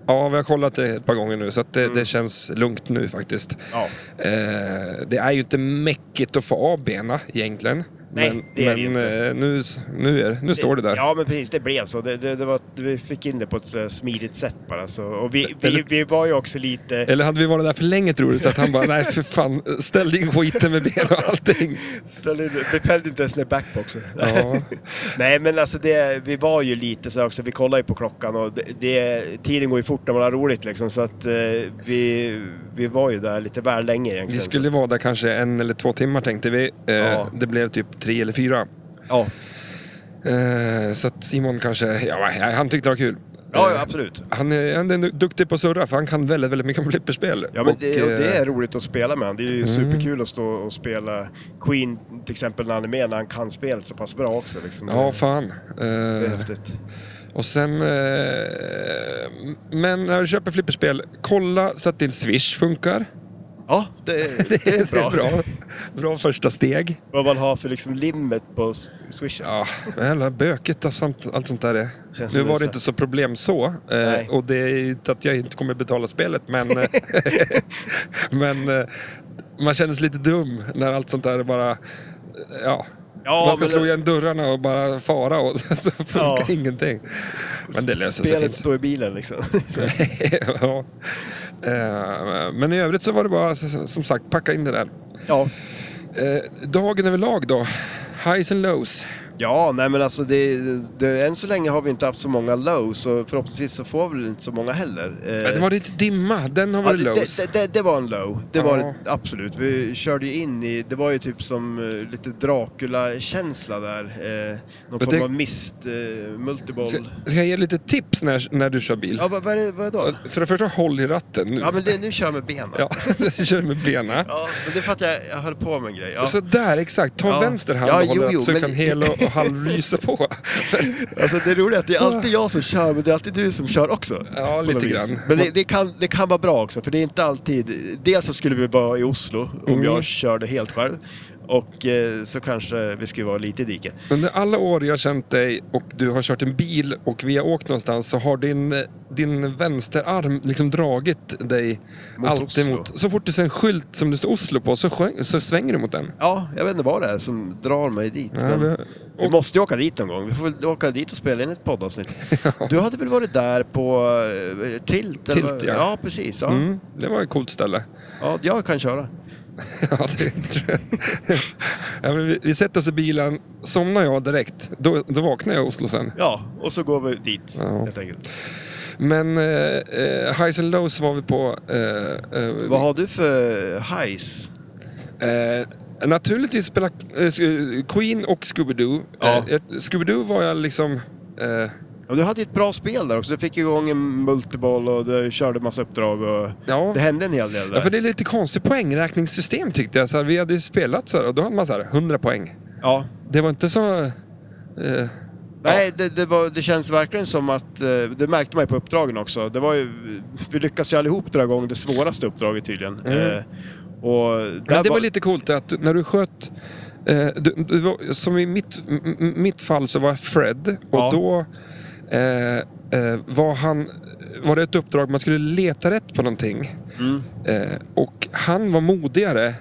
Speaker 1: Ja, vi har kollat det ett par gånger nu så att det,
Speaker 2: Mm.
Speaker 1: det känns lugnt nu faktiskt.
Speaker 2: Ja,
Speaker 1: Eh, det är ju inte mäckigt att få av bena egentligen.
Speaker 2: Nej,
Speaker 1: men
Speaker 2: det är det
Speaker 1: men
Speaker 2: ju inte.
Speaker 1: eh, nu, nu, är, nu står det där.
Speaker 2: Ja, men precis. Det blev så. Det, det, det var, vi fick in det på ett så här smidigt sätt bara. Så, och vi, vi,
Speaker 1: Eller-
Speaker 2: vi var ju också lite...
Speaker 1: Eller hade vi varit där för länge tror du? Så att han bara, nej för fan, ställ in skiten med ben och allting.
Speaker 2: Ställde, in- vi fällde inte ens ner backboxen.
Speaker 1: Ja.
Speaker 2: Nej men alltså det, vi var ju lite så här också, vi kollade ju på klockan och det, det, tiden går ju fort när man har roligt liksom så att eh, vi, vi var ju där lite väl länge egentligen.
Speaker 1: Vi skulle vara där kanske en eller två timmar tänkte vi. Eh,
Speaker 2: Ja.
Speaker 1: Det blev typ tre eller fyra.
Speaker 2: Ja,
Speaker 1: Eh, så att Simon kanske, ja, han tyckte det var kul.
Speaker 2: ja,
Speaker 1: Eh,
Speaker 2: ja absolut.
Speaker 1: Han är, han är duktig på att surra för han kan väldigt, väldigt mycket om flipperspel.
Speaker 2: Ja men
Speaker 1: Och,
Speaker 2: det, och det
Speaker 1: eh, Mm.
Speaker 2: är roligt att spela med Det är ju superkul att stå och spela Queen till exempel när han är med, när han kan spelet så pass bra också. Liksom.
Speaker 1: Ja, fan.
Speaker 2: det är
Speaker 1: Eh,
Speaker 2: häftigt.
Speaker 1: och sen... Eh, men när du köper flipperspel, kolla så att din swish funkar.
Speaker 2: Ja, det, det,
Speaker 1: <laughs>
Speaker 2: är
Speaker 1: Det
Speaker 2: bra.
Speaker 1: är bra. Bra första steg.
Speaker 2: Vad man har för liksom limit på s- swishen.
Speaker 1: Ja, men jävla böket och sånt, allt sånt där är.
Speaker 2: Känns
Speaker 1: Nu
Speaker 2: som det är
Speaker 1: var
Speaker 2: så
Speaker 1: det
Speaker 2: här.
Speaker 1: inte så problem så.
Speaker 2: Nej.
Speaker 1: Eh, och det är inte att jag inte kommer betala spelet, men...
Speaker 2: <laughs>
Speaker 1: eh, <laughs> men eh, man känner sig lite dum när allt sånt där bara... eh, Ja.
Speaker 2: Ja,
Speaker 1: man ska
Speaker 2: men
Speaker 1: slå
Speaker 2: det-
Speaker 1: igen dörrarna och bara fara och <laughs> så funkar
Speaker 2: Ja.
Speaker 1: ingenting. Men det löser sig.
Speaker 2: Spelet
Speaker 1: fint.
Speaker 2: står i bilen liksom. <laughs>
Speaker 1: <laughs> ja. Eh, Men i övrigt så var det bara s- som sagt packa in det där.
Speaker 2: ja.
Speaker 1: Eh, Dagen överlag då? Highs and lows.
Speaker 2: ja, nej men alltså det, det, än så länge har vi inte haft så många lows och förhoppningsvis så får vi väl inte så många heller. Eh,
Speaker 1: Det var lite dimma, den har
Speaker 2: Ja,
Speaker 1: varit
Speaker 2: det,
Speaker 1: lows.
Speaker 2: det, det, det var en low, det
Speaker 1: Ja.
Speaker 2: var det absolut. Vi körde ju in i, det var ju typ som eh, lite Dracula-känsla där. Eh, någon
Speaker 1: Men
Speaker 2: form
Speaker 1: det-
Speaker 2: av mist, eh, multiboll.
Speaker 1: Ska, ska jag ge lite tips när, när du kör bil?
Speaker 2: Ja, vad, vad är det, vad är det då?
Speaker 1: För det första, håll i ratten nu.
Speaker 2: Ja men det, nu kör jag med benen. Ja.
Speaker 1: <laughs> Ja, du kör med benen.
Speaker 2: men det är för att jag, jag höll på med en grej. Ja.
Speaker 1: Så där, exakt. Ta
Speaker 2: Ja.
Speaker 1: vänster hand
Speaker 2: Ja,
Speaker 1: och håll
Speaker 2: jo,
Speaker 1: upp
Speaker 2: jo,
Speaker 1: så du
Speaker 2: men-
Speaker 1: kan hel
Speaker 2: <laughs>
Speaker 1: och, och halvlysa på.
Speaker 2: Alltså det roliga är att det är alltid jag som kör, men det är alltid du som kör också.
Speaker 1: Ja,
Speaker 2: På
Speaker 1: lite
Speaker 2: något vis.
Speaker 1: grann.
Speaker 2: Men det, det, kan, det kan vara bra också, för det är inte alltid... Dels så skulle vi vara i Oslo om
Speaker 1: Mm.
Speaker 2: jag körde helt själv. Och eh, så kanske vi skulle vara lite i diket.
Speaker 1: Under alla år jag har känt dig och du har kört en bil och vi har åkt någonstans så har din, din vänsterarm liksom dragit dig
Speaker 2: Mot
Speaker 1: alltid
Speaker 2: Oslo.
Speaker 1: mot... Så fort du ser en skylt som det står Oslo på så, sjö- så svänger du mot den.
Speaker 2: Ja, jag vet inte vad det är som drar mig dit.
Speaker 1: Ja,
Speaker 2: men
Speaker 1: men-
Speaker 2: Vi
Speaker 1: och-
Speaker 2: måste ju åka dit någon gång. Vi får väl åka dit och spela in
Speaker 1: <laughs>
Speaker 2: ett poddavsnitt. Du hade väl varit där på eh, Tilt? eller
Speaker 1: Tilt,
Speaker 2: vad-
Speaker 1: ja.
Speaker 2: Ja, precis. Ja.
Speaker 1: Mm, det var ett coolt ställe. <laughs>
Speaker 2: ja, jag kan köra.
Speaker 1: Ja, det tror jag. ja, men vi, vi sätter oss i bilen, somnar jag direkt, då, då vaknar jag i Oslo sen.
Speaker 2: Ja, och så går vi dit
Speaker 1: Ja.
Speaker 2: helt enkelt.
Speaker 1: Men eh, eh, highs and lows var vi på. Eh, eh,
Speaker 2: Vad har du för highs?
Speaker 1: eh, naturligtvis spela eh, Sk- Queen och Scooby-Doo.
Speaker 2: Ja.
Speaker 1: Eh, jag- Scooby-Doo var jag liksom... Eh,
Speaker 2: Ja, du hade ju ett bra spel där också. Du fick igång en multiboll och du körde massa uppdrag och
Speaker 1: ja.
Speaker 2: det hände en hel del där.
Speaker 1: ja, för det är lite konstigt poängräkningssystem tyckte jag. Så här, vi hade ju spelat så här och då hade man så här 100 poäng.
Speaker 2: Ja.
Speaker 1: Det var inte så... Eh,
Speaker 2: Nej, det, det, var, det känns verkligen som att, eh, det märkte man ju på uppdragen också. Det var ju, vi lyckades ju allihop dra igång det svåraste uppdraget tydligen.
Speaker 1: Mm.
Speaker 2: Eh, och
Speaker 1: Men
Speaker 2: där
Speaker 1: det var lite coolt att du- när du sköt... Eh, du, du var, som i mitt, m- m- mitt fall så var jag Fred och
Speaker 2: Ja.
Speaker 1: då eh, eh, var, han, var det ett uppdrag man skulle leta rätt på någonting.
Speaker 2: Mm.
Speaker 1: Eh, och han var modigare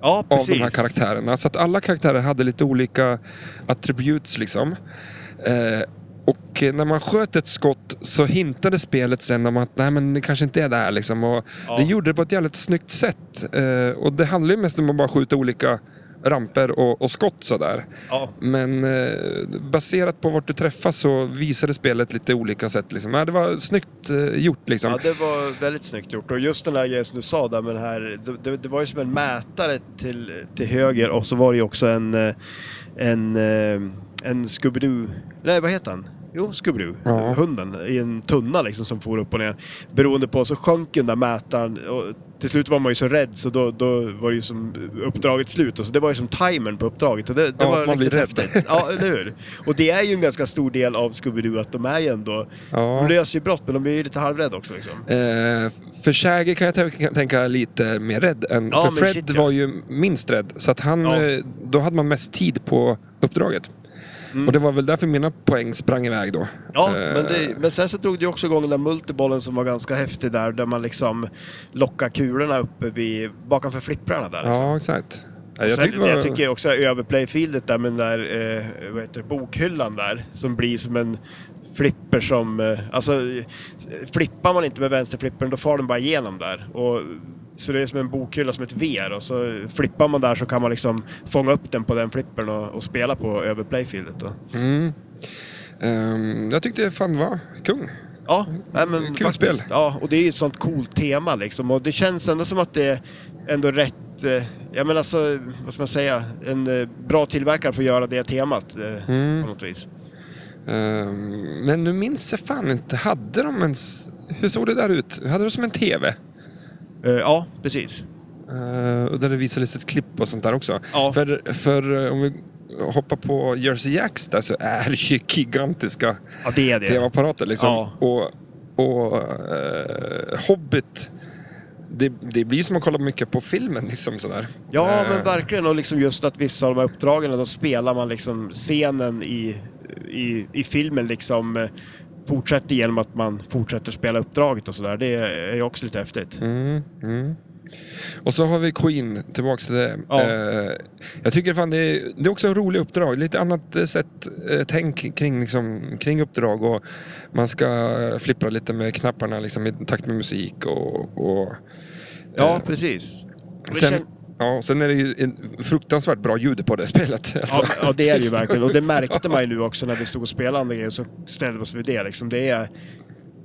Speaker 2: Ja,
Speaker 1: av
Speaker 2: precis.
Speaker 1: de här karaktärerna. Så att alla karaktärer hade lite olika attributes liksom. Eh, och eh, när man sköt ett skott så hintade spelet sen om att nej men det kanske inte är det här liksom. Och
Speaker 2: Ja.
Speaker 1: Det gjorde det på ett jävligt snyggt sätt. Eh, och det handlar ju mest om att bara skjuta olika ramper och, och skott sådär.
Speaker 2: Ja.
Speaker 1: Men eh, baserat på vart du träffas så visade spelet lite olika sätt liksom. Ja, det var snyggt eh, gjort liksom.
Speaker 2: ja, det var väldigt snyggt gjort. Och just den där grejen som du sa där med den här, det, det, det var ju som en mätare till, till höger och så var det ju också en, eh, en, eh, en Scooby-Doo, nej vad heter han? Jo, Scooby-Doo,
Speaker 1: Ja.
Speaker 2: hunden, i en tunna liksom som for upp och ner. Beroende på, så sjönk den där mätaren och till slut var man ju så rädd så då, då var det ju som uppdraget slut. Och så det var ju som timern på uppdraget. Och det, det
Speaker 1: Ja,
Speaker 2: var
Speaker 1: man blir
Speaker 2: riktigt
Speaker 1: rädd.
Speaker 2: häftigt. Ja, eller hur? Och det är ju en ganska stor del av Scooby-Doo att de är ju ändå
Speaker 1: ja.
Speaker 2: de löser ju brott, men de är ju lite halvrädda också liksom.
Speaker 1: Eh, för Shaggy kan jag tänka, tänka lite mer rädd än...
Speaker 2: Ja,
Speaker 1: för
Speaker 2: men
Speaker 1: Fred
Speaker 2: shit, ja.
Speaker 1: var ju minst rädd. Så att han,
Speaker 2: Ja.
Speaker 1: eh, då hade man mest tid på uppdraget.
Speaker 2: Mm.
Speaker 1: Och det var väl därför mina poäng sprang iväg då.
Speaker 2: Ja,
Speaker 1: Eh,
Speaker 2: men, det, men sen så drog det ju också igång den där multibollen som var ganska häftig där, där man liksom lockar kulorna uppe vid, bakanför flipprarna där. Liksom.
Speaker 1: Ja, exakt. Ja,
Speaker 2: Och
Speaker 1: jag
Speaker 2: sen,
Speaker 1: tyckte det var...
Speaker 2: jag tycker också det här överplayfieldet där med den där eh, vad heter det, bokhyllan där som blir som en flipper som, eh, alltså eh, flippar man inte med vänsterflippern då far den bara igenom där. Och, så det är som en bokhylla som ett VR och så flippar man där så kan man liksom fånga upp den på den flippern och, och spela på överplayfieldet. Då.
Speaker 1: Mm. Ehm, jag tyckte fan var kung.
Speaker 2: Ja, nej, men
Speaker 1: Mm. Kul
Speaker 2: faktiskt.
Speaker 1: spel.
Speaker 2: Ja, och det är ju ett sånt coolt tema liksom. Och det känns ändå som att det är ändå rätt, eh, jag menar alltså, vad ska man säga, en eh, bra tillverkare får göra det temat eh,
Speaker 1: Mm.
Speaker 2: på något vis.
Speaker 1: Ehm, men nu minns jag fan inte. Hade de ens... Hur såg det där ut? Hade de som en TV?
Speaker 2: Eh, ja, precis.
Speaker 1: Eh, och där det visades ett klipp och sånt där också.
Speaker 2: Ja.
Speaker 1: För, för eh, om vi hoppar på Jersey Jacks där så är det ju gigantiska
Speaker 2: Ja, det är det.
Speaker 1: tv-apparater liksom.
Speaker 2: Ja.
Speaker 1: Och, och eh, Hobbit, det, det blir som att kolla mycket på filmen liksom sådär.
Speaker 2: Ja,
Speaker 1: Eh,
Speaker 2: men verkligen. Och liksom just att vissa av de här uppdragen, då spelar man liksom scenen i, i, i filmen liksom eh, fortsätter genom att man fortsätter spela uppdraget och sådär. Det är ju också lite häftigt.
Speaker 1: Mm, mm. Och så har vi Queen, tillbaks till det.
Speaker 2: Ja.
Speaker 1: Eh, jag tycker fan det är, det är också en rolig uppdrag. Lite annat eh, sätt eh, tänk kring, liksom, kring uppdrag och man ska flippra lite med knapparna liksom, i takt med musik och... och
Speaker 2: Ja,
Speaker 1: eh,
Speaker 2: precis. Men
Speaker 1: sen,
Speaker 2: känn-
Speaker 1: ja, sen är det ju en fruktansvärt bra ljud på det <laughs> spelet.
Speaker 2: Ja,
Speaker 1: Alltså.
Speaker 2: men- ja, det är det ju
Speaker 1: <laughs>
Speaker 2: verkligen. Och det märkte man ju nu också när vi stod och spelade andra grejer så ställde vi oss vid det liksom. Det är,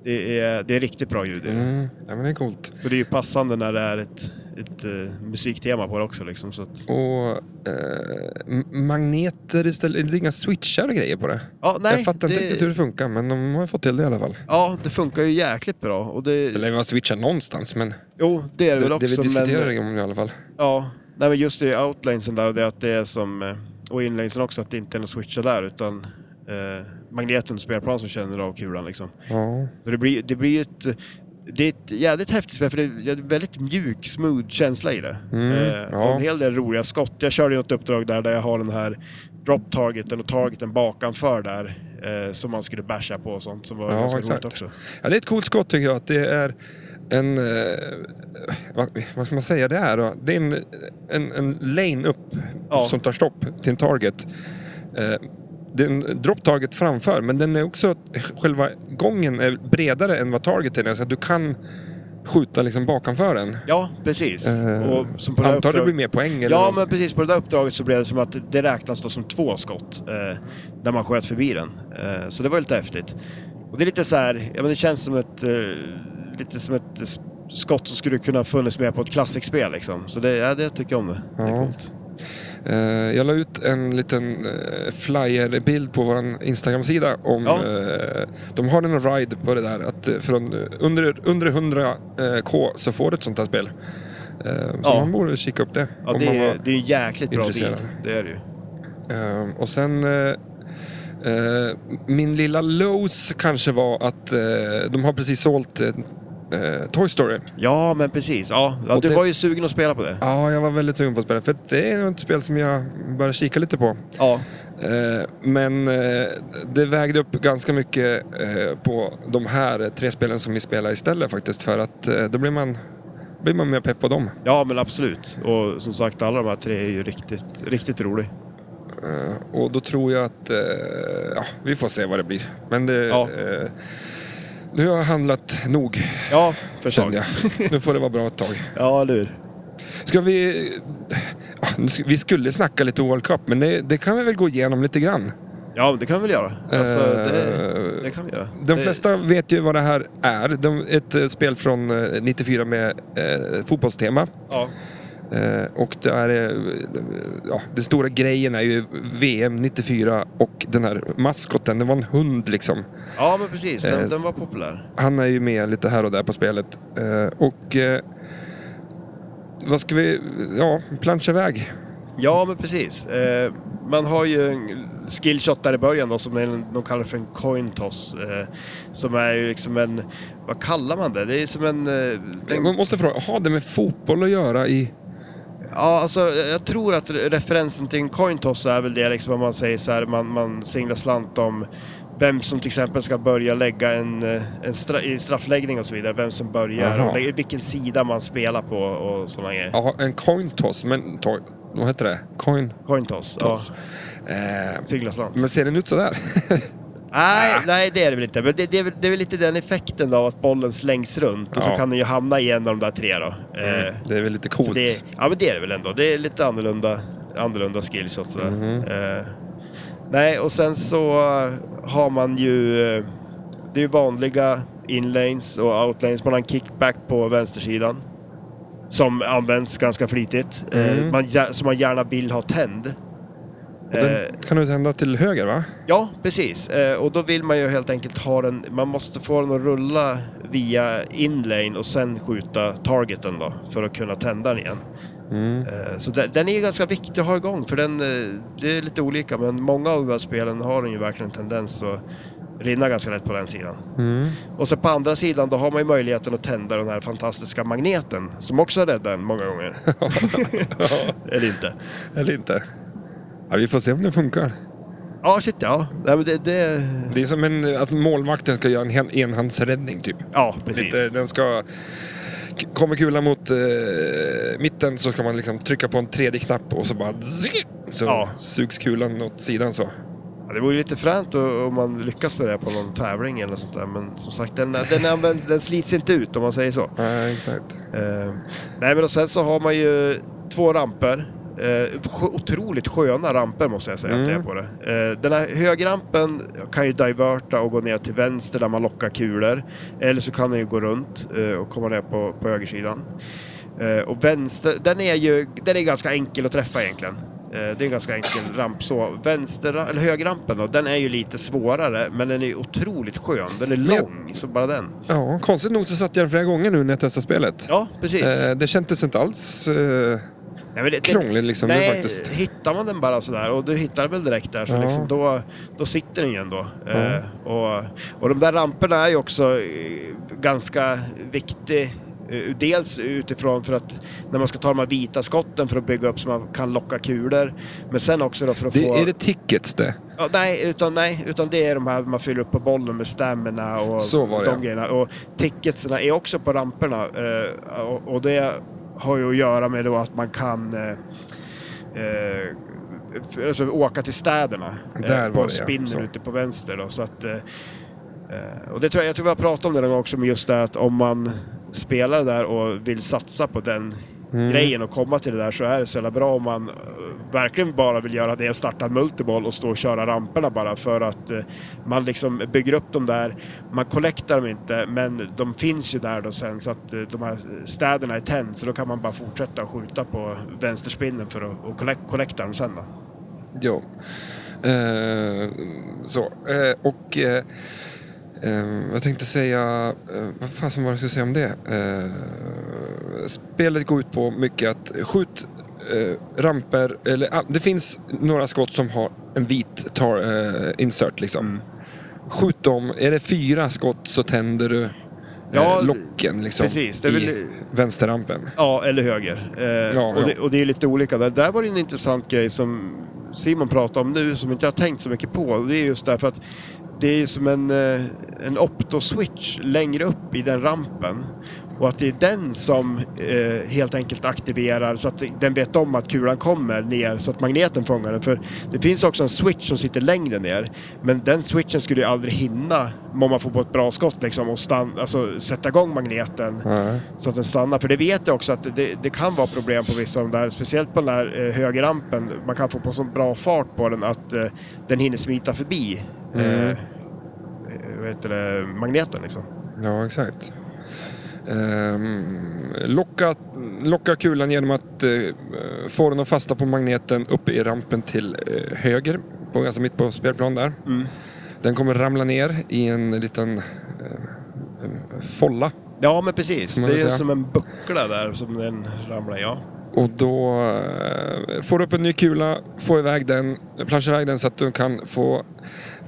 Speaker 2: det är, det är riktigt bra ljud. i det.
Speaker 1: Mm, ja, men det är coolt.
Speaker 2: Så det är ju passande när det är ett, ett eh, musiktema på det också liksom. Så att,
Speaker 1: Och eh, m- magneter istället, det är inga switchar och grejer på det.
Speaker 2: ja, nej,
Speaker 1: jag fattar inte
Speaker 2: det-
Speaker 1: riktigt hur det funkar men de har ju fått till det i alla fall.
Speaker 2: Ja, det funkar ju jäkligt bra. Och
Speaker 1: Det
Speaker 2: det,
Speaker 1: lär ju vara switchar någonstans men
Speaker 2: jo, det är det
Speaker 1: det,
Speaker 2: väl
Speaker 1: det,
Speaker 2: också.
Speaker 1: vi diskuterar
Speaker 2: men,
Speaker 1: om i alla fall.
Speaker 2: ja, nej, men just det i outlinesen där och det att det är som, eh, och inlanesen också, att det inte är någon switcha där utan eh, magneten, spelplan som känner av kulan liksom.
Speaker 1: Ja.
Speaker 2: Så det blir, det blir ett, det är ett jävligt häftigt spel för det är en väldigt mjuk, smooth känsla i det.
Speaker 1: Mm,
Speaker 2: eh,
Speaker 1: ja.
Speaker 2: och en hel del roliga skott. Jag körde ju ett uppdrag där, där jag har den här drop targeten och targeten bakanför där. Eh, som man skulle basha på och sånt som var
Speaker 1: Ja,
Speaker 2: ganska
Speaker 1: exakt.
Speaker 2: roligt också.
Speaker 1: ja, det är ett coolt skott tycker jag att det är en... Eh, vad, vad ska man säga det är då? Det är en, en, en lane upp
Speaker 2: Ja.
Speaker 1: som tar stopp till en target. Eh, det är en drop target framför men den är också... Själva gången är bredare än vad targeten är så att du kan skjuta liksom bakanför den.
Speaker 2: Ja, precis.
Speaker 1: Eh,
Speaker 2: och som på det här
Speaker 1: Antar du
Speaker 2: uppdrag-
Speaker 1: blir mer poäng eller
Speaker 2: Ja,
Speaker 1: någon-
Speaker 2: men precis. På det där uppdraget så blev det som att det räknas då som två skott eh, när man sköt förbi den. Eh, så det var lite häftigt. Och det är lite så här, ja men det känns som ett, eh, lite som ett s- skott som skulle kunna funnits med på ett klassikspel liksom. Så det, ja, det tycker jag om det. Det
Speaker 1: Ja.
Speaker 2: är coolt.
Speaker 1: Eh, Jag la ut en liten eh, flyer-bild på vår Instagram-sida om...
Speaker 2: Ja.
Speaker 1: eh, De har en ride på det där att eh, från eh, under, under 100k så får du ett sånt här spel. Eh, Så
Speaker 2: Ja.
Speaker 1: man borde kika upp det.
Speaker 2: Ja,
Speaker 1: om
Speaker 2: det,
Speaker 1: man
Speaker 2: är,
Speaker 1: var-
Speaker 2: det är en jäkligt bra deal.
Speaker 1: intresserad.
Speaker 2: Det är det ju.
Speaker 1: Eh, Och sen... eh, eh, Min lilla lose kanske var att eh, de har precis sålt eh, eh, Toy Story.
Speaker 2: Ja, men precis. Ja, ja
Speaker 1: Och
Speaker 2: du
Speaker 1: det-
Speaker 2: var ju sugen att spela på det.
Speaker 1: Ja, jag var väldigt sugen på att spela för det är ett spel som jag börjar kika lite på.
Speaker 2: Ja,
Speaker 1: Eh, Men eh, det vägde upp ganska mycket eh, på de här tre spelen som vi spelar istället faktiskt. För att eh, då blir man, blir man mer pepp på dem.
Speaker 2: ja men absolut. Och som sagt, alla de här tre är ju riktigt, riktigt roliga.
Speaker 1: Eh, Och då tror jag att... eh, Ja, vi får se vad det blir. Men det...
Speaker 2: Ja.
Speaker 1: eh, Nu har jag handlat nog,
Speaker 2: Ja, för
Speaker 1: känner
Speaker 2: sig.
Speaker 1: jag. Nu får det vara bra ett tag.
Speaker 2: Ja, eller hur?
Speaker 1: Ska vi... ah, nu sk- Vi skulle snacka lite World Cup, men det, det kan vi väl gå igenom lite grann.
Speaker 2: Ja, men det kan vi väl göra. Alltså, det,
Speaker 1: Eh,
Speaker 2: det kan vi göra.
Speaker 1: De
Speaker 2: det,
Speaker 1: flesta vet ju vad det här är. De, ett eh, spel från eh, 94 med eh, fotbollstema.
Speaker 2: Ja,
Speaker 1: Eh, och det är... Eh, ja, den stora grejen är ju VM 94 och den här maskoten, det var en hund liksom.
Speaker 2: ja men precis. Den,
Speaker 1: Eh,
Speaker 2: den var populär.
Speaker 1: Han är ju med lite här och där på spelet. Eh, och... Eh, vad ska vi... Ja, plancha iväg.
Speaker 2: Ja, men precis. Eh, man har ju en skillshot där i början då, som är en, de kallar för en coin toss. Eh, som är ju liksom en... Vad kallar man det? Det är som en... Eh,
Speaker 1: Man
Speaker 2: den,
Speaker 1: måste fråga, har det med fotboll att göra i...
Speaker 2: ja, alltså jag tror att re- referensen till en coin toss är väl det liksom om man säger så här, man, man singlar slant om vem som till exempel ska börja lägga en, eh, en stra, i straffläggning och så vidare. Vem som börjar,
Speaker 1: Jaha.
Speaker 2: och lägger- vilken sida man spelar på och sådana grejer.
Speaker 1: Ja, en coin toss, men... To, vad heter det? Coin
Speaker 2: Coin toss. Ja.
Speaker 1: toss. Eh,
Speaker 2: Singla slant.
Speaker 1: men ser den ut sådär?
Speaker 2: Nej, nej, det är det väl inte. Men det, det, är väl, det är väl lite den effekten då, att bollen slängs runt och så
Speaker 1: Ja.
Speaker 2: kan den ju hamna i en av de där tre då. Eh,
Speaker 1: Det är väl lite
Speaker 2: så
Speaker 1: coolt.
Speaker 2: det, ja, men det är det väl ändå. Det är lite annorlunda, annorlunda skillshot sådär.
Speaker 1: Mhm.
Speaker 2: Eh, nej, och sen så eh, har man ju... eh, Det är ju vanliga inlanes och outlanes. Man har en kickback på vänstersidan. Som används ganska flitigt. Eh,
Speaker 1: Mm.
Speaker 2: man, gär- som man gärna vill ha tänd.
Speaker 1: Och den
Speaker 2: Eh,
Speaker 1: kan du tända till höger va?
Speaker 2: Ja, precis. Eh, och då vill man ju helt enkelt ha den, man måste få den att rulla via inlane och sen skjuta targeten då för att kunna tända den igen. Eh, så den, den är ju ganska viktig att ha igång för den, eh, det är lite olika men många av de här spelen har den ju verkligen en tendens att rinna ganska lätt på den sidan. Och sen på andra sidan då har man ju möjligheten att tända den här fantastiska magneten som också räddar en många gånger.
Speaker 1: <laughs> Ja,
Speaker 2: Eller inte.
Speaker 1: Eller inte. Ja, vi får se om det funkar.
Speaker 2: Ja, shit ja. Nej, men det, det,
Speaker 1: Det är som en, att målvakten ska göra en hen- enhandsräddning typ.
Speaker 2: ja, precis.
Speaker 1: Lite, den ska k- kommer kulan mot eh, mitten så ska man liksom trycka på en tredje knapp och så bara zzz, så
Speaker 2: Ja.
Speaker 1: sugs kulan åt sidan så.
Speaker 2: Ja, det vore ju lite fränt o- om man lyckas med det här på någon tävling eller sånt där. Men som sagt, den, den, används, den slits inte ut om man säger så.
Speaker 1: Ja, exakt.
Speaker 2: Eh, nej men och sen så har man ju två ramper. Eh, sjö- otroligt sköna ramper måste jag säga att det är
Speaker 1: Mm.
Speaker 2: på det. Eh, den här högrampen kan ju diverta och gå ner till vänster där man lockar kulor. Eller så kan den ju gå runt eh, och komma ner på, på högersidan. Eh, och vänster, den är ju den är ganska enkel att träffa egentligen. Eh, det är en ganska enkel ramp så. Vänster, eller högerrampen då, den är ju lite svårare men den är ju otroligt skön. Den är
Speaker 1: jag-
Speaker 2: lång, så bara den.
Speaker 1: Ja, konstigt nog så satt jag den flera gånger nu när jag testade spelet.
Speaker 2: Ja, precis.
Speaker 1: Eh, det kändes inte alls eh,
Speaker 2: Nej, men det- det-
Speaker 1: krångligt liksom nu
Speaker 2: Nej,
Speaker 1: faktiskt.
Speaker 2: hittar man den bara sådär och du hittar den väl direkt där så
Speaker 1: Ja.
Speaker 2: liksom, då, då sitter den ju ändå.
Speaker 1: Ja.
Speaker 2: Eh, och, och de där ramperna är ju också eh, ganska viktig. eh, Dels utifrån för att när man ska ta de här vita skotten för att bygga upp så man kan locka kulor. Men sen också då för att
Speaker 1: Det,
Speaker 2: få...
Speaker 1: är det tickets det?
Speaker 2: Ja, nej, utan, nej, utan det är de här man fyller upp på bollen med stämmorna och
Speaker 1: Så var det,
Speaker 2: de
Speaker 1: ja.
Speaker 2: grejerna. Och ticketsna är också på ramperna eh, och, och det har ju att göra med då att man kan eh, eh, f- alltså, åka till städerna eh,
Speaker 1: Där var
Speaker 2: på
Speaker 1: det, ja.
Speaker 2: spinnen
Speaker 1: Så.
Speaker 2: ute på vänster. Då, så att, eh, eh, och det tror jag, jag tror vi har pratat om det någon gång också, men just det att om man spelar där och vill satsa på den
Speaker 1: Mm.
Speaker 2: grejen och komma till det där så är det så jävla bra om man eh, verkligen bara vill göra det, starta en multiboll och stå och köra ramperna bara för att eh, man liksom bygger upp dem där. Man collectar dem inte men de finns ju där då sen så att eh, de här städerna är tänd så då kan man bara fortsätta och skjuta på vänsterspinnen för att och collect- collecta dem sen då.
Speaker 1: Ja. Eh, så. Eh, och eh, eh, jag tänkte säga, eh, vad fasen var det jag skulle säga om det? Eh, spelet går ut på mycket att skjut eh, ramper, eller ah, det finns några skott som har en vit tar, eh, insert liksom. Skjut dem, är det fyra skott så tänder du eh,
Speaker 2: Ja,
Speaker 1: locken liksom,
Speaker 2: Precis, det är
Speaker 1: i
Speaker 2: väl,
Speaker 1: vänsterrampen.
Speaker 2: ja eller höger. Eh,
Speaker 1: Ja,
Speaker 2: och,
Speaker 1: ja.
Speaker 2: Det, och det är lite olika där. Där var det en intressant grej som Simon pratade om nu som inte jag har tänkt så mycket på. Och Det är just därför att det är ju som en, eh, en opto-switch längre upp i den rampen. Och att det är den som eh, helt enkelt aktiverar så att den vet om att kulan kommer ner så att magneten fångar den. För det finns också en switch som sitter längre ner. Men den switchen skulle ju aldrig hinna, om man får på ett bra skott liksom, och stann, alltså, sätta igång magneten
Speaker 1: Nej.
Speaker 2: så att den stannar. För det vet jag också att det, det kan vara problem på vissa av de där, speciellt på den där eh, högerrampen. Man kan få på så bra fart på den att eh, den hinner smita förbi
Speaker 1: Mm.
Speaker 2: eh, vad heter det, magneten liksom.
Speaker 1: Ja, exakt. Ehm, locka, locka kulan genom att eh, få den att fasta på magneten uppe i rampen till eh, höger, på, ganska mitt på spelplan där.
Speaker 2: Mm.
Speaker 1: Den kommer ramla ner i en liten eh, en folla.
Speaker 2: Ja men precis,
Speaker 1: Kan man
Speaker 2: det är
Speaker 1: väl
Speaker 2: ju
Speaker 1: säga.
Speaker 2: som en buckla där som den ramlar i. Ja.
Speaker 1: Och då eh, får du upp en ny kula, får iväg den, planschar iväg den så att du kan få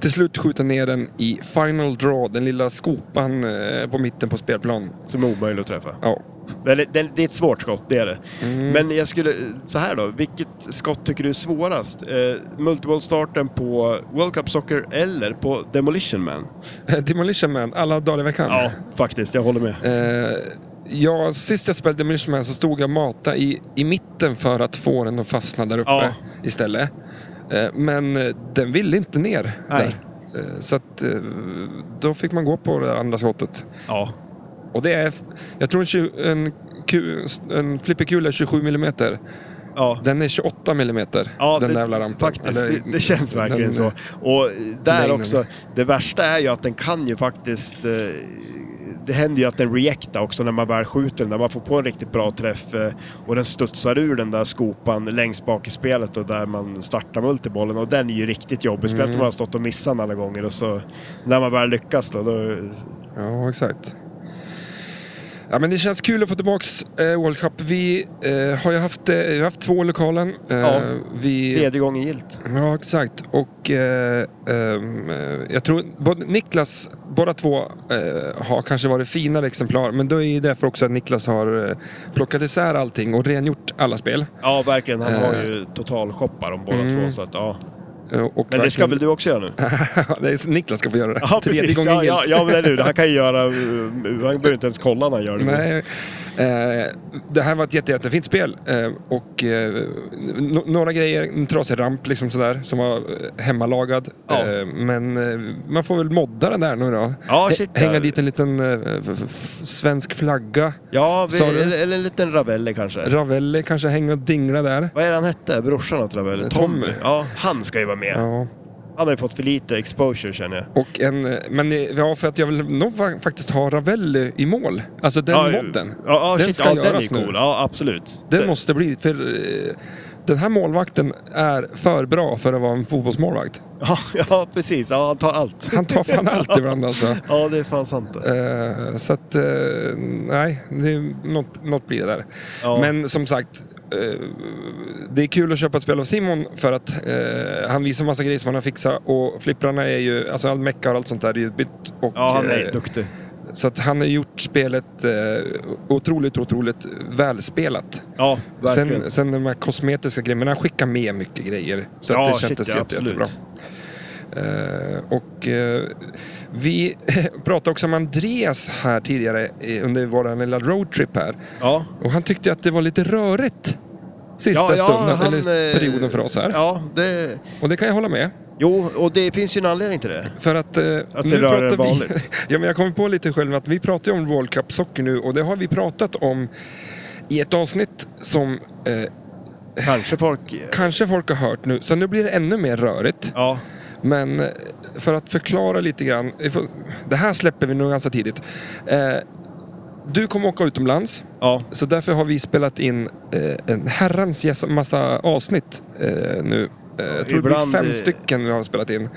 Speaker 1: till slut skjuta ner den i final draw, den lilla skopan eh, på mitten på spelplan.
Speaker 2: Som är omöjlig att träffa.
Speaker 1: Ja.
Speaker 2: Men det, det, det är ett svårt skott, det är det.
Speaker 1: Mm.
Speaker 2: Men jag skulle, så här då, vilket skott tycker du är svårast? Eh, Multiball-starten på World Cup Soccer eller på Demolition Man?
Speaker 1: <laughs> Demolition Man, alla dagar i veckan.
Speaker 2: Ja, faktiskt, jag håller med.
Speaker 1: Eh, ja, sist jag spelade Demolition Man så stod jag och matade i, i mitten för att få den att fastna där uppe
Speaker 2: Ja.
Speaker 1: istället. Eh, men eh, den ville inte ner.
Speaker 2: Nej.
Speaker 1: Där. Eh, så att, eh, då fick man gå på det andra skottet.
Speaker 2: Ja,
Speaker 1: Och det är, jag tror en, tju- en, ku- en flipperkula är 27 mm.
Speaker 2: ja.
Speaker 1: Den är 28 mm,
Speaker 2: Ja,
Speaker 1: den
Speaker 2: det,
Speaker 1: där jävla rampen.
Speaker 2: Faktiskt,
Speaker 1: Eller-
Speaker 2: det, det känns verkligen
Speaker 1: den-
Speaker 2: så. Och där
Speaker 1: längden.
Speaker 2: också, det värsta är ju att den kan ju faktiskt... eh, Det händer ju att den reactar också när man väl skjuter den, när man får på en riktigt bra träff eh, och den studsar ur den där skopan längst bak i spelet och där man startar multibollen och den är ju riktigt jobbig. Speciellt
Speaker 1: Mm.
Speaker 2: om man har stått och missat den alla gånger och så när man väl lyckas då, då
Speaker 1: Ja, exakt. Ja, men det känns kul att få tillbaks eh, World Cup. Vi eh, har ju haft, eh, vi har haft två i lokalen. Eh,
Speaker 2: Ja.
Speaker 1: vi,
Speaker 2: tredje gången gilt.
Speaker 1: ja, exakt. Och eh, ehm, eh, jag tror både Niklas, båda två eh, har kanske varit finare exemplar. Men då är det därför också att Niklas har eh, plockat isär allting och rengjort alla spel.
Speaker 2: Ja, verkligen. Han har
Speaker 1: Eh.
Speaker 2: ju totalshoppar om båda
Speaker 1: Mm.
Speaker 2: två så att ja.
Speaker 1: Eh, och
Speaker 2: Men det ska
Speaker 1: <laughs> verkligen-
Speaker 2: väl du också göra nu?
Speaker 1: det är så Niklas ska få göra det.
Speaker 2: Ja,
Speaker 1: <laughs> Tredje
Speaker 2: precis.
Speaker 1: gången
Speaker 2: ja, ja,
Speaker 1: gillt.
Speaker 2: eh, ja, men eller hur. Han kan ju göra... Han behöver inte ens kolla när han gör det.
Speaker 1: Nej, Eh, det här var ett jätte, jättefint spel eh, och eh, no- några grejer, en trasig ramp liksom sådär som var eh, hemmalagad.
Speaker 2: Ja.
Speaker 1: Eh, men eh, man får väl modda den där nu då.
Speaker 2: Ja,
Speaker 1: H-
Speaker 2: shit.
Speaker 1: Hänga
Speaker 2: där.
Speaker 1: dit en liten eh, f- f- svensk flagga.
Speaker 2: Ja, vi,
Speaker 1: Sa du?
Speaker 2: eller, eller en liten Ravelli kanske.
Speaker 1: Ravelli kanske hänga och dingla där.
Speaker 2: Vad är det han hette? Brorsan åt Ravelli?
Speaker 1: Eh, Tommy.
Speaker 2: Ja, han ska ju vara med.
Speaker 1: Ja.
Speaker 2: Han har ju fått för lite exposure känner jag.
Speaker 1: Och en, eh, men eh, ja, för att jag vill nog fa- faktiskt ha Ravelli i mål. Alltså den
Speaker 2: ja,
Speaker 1: modden.
Speaker 2: Ja, ja
Speaker 1: Den
Speaker 2: shit.
Speaker 1: ska
Speaker 2: Ja, den är
Speaker 1: göras nu.
Speaker 2: cool. Ja, absolut.
Speaker 1: Den
Speaker 2: Det-
Speaker 1: måste bli, för eh, den här målvakten är för bra för att vara en fotbollsmålvakt.
Speaker 2: <laughs> Ja, ja, precis. Ja, han tar allt.
Speaker 1: Han tar fan allt ibland alltså.
Speaker 2: Ja, det är fan sant det.
Speaker 1: Eh, så att, eh, nej, det är något, något blir det där.
Speaker 2: Ja.
Speaker 1: Men som sagt, eh, det är kul att köpa ett spel av Simon för att eh, han visar massa grejer som han har fixat och flipprarna är ju, alltså all mecka och allt sånt där är ju bytt. Och,
Speaker 2: Ja, han är
Speaker 1: eh,
Speaker 2: duktig.
Speaker 1: så att han har gjort spelet eh, otroligt, otroligt välspelat.
Speaker 2: Ja, verkligen.
Speaker 1: Sen, sen de här kosmetiska grejerna, men han skickar med mycket grejer. Så
Speaker 2: ja,
Speaker 1: att det kändes
Speaker 2: shit, ja,
Speaker 1: jätte,
Speaker 2: absolut.
Speaker 1: jättebra. Eh, och eh, vi <laughs> pratade också om Andreas här tidigare eh, under vår lilla roadtrip här.
Speaker 2: Ja,
Speaker 1: Och han tyckte att det var lite rörigt sista
Speaker 2: ja, ja,
Speaker 1: stunden, eller
Speaker 2: eh,
Speaker 1: perioden för oss här.
Speaker 2: Ja, det...
Speaker 1: Och det kan jag hålla med.
Speaker 2: Jo, och det finns ju en anledning till det.
Speaker 1: För att, eh,
Speaker 2: Att det rör en
Speaker 1: vi...
Speaker 2: vanligt.
Speaker 1: <laughs> ja, men jag kommer på lite själv att vi pratar ju om World Cup Soccer nu och det har vi pratat om i ett avsnitt som eh,
Speaker 2: Kanske folk...
Speaker 1: kanske folk har hört nu. Så nu blir det ännu mer rörigt.
Speaker 2: Ja,
Speaker 1: Men eh, för att förklara lite grann. vi får- Det här släpper vi nog ganska tidigt. Eh, Du kommer åka utomlands,
Speaker 2: ja,
Speaker 1: så därför har vi spelat in eh, en herrans gäss- massa avsnitt eh, nu. Eh, Jag tror det
Speaker 2: ibland,
Speaker 1: blir fem
Speaker 2: eh,
Speaker 1: stycken vi har spelat in.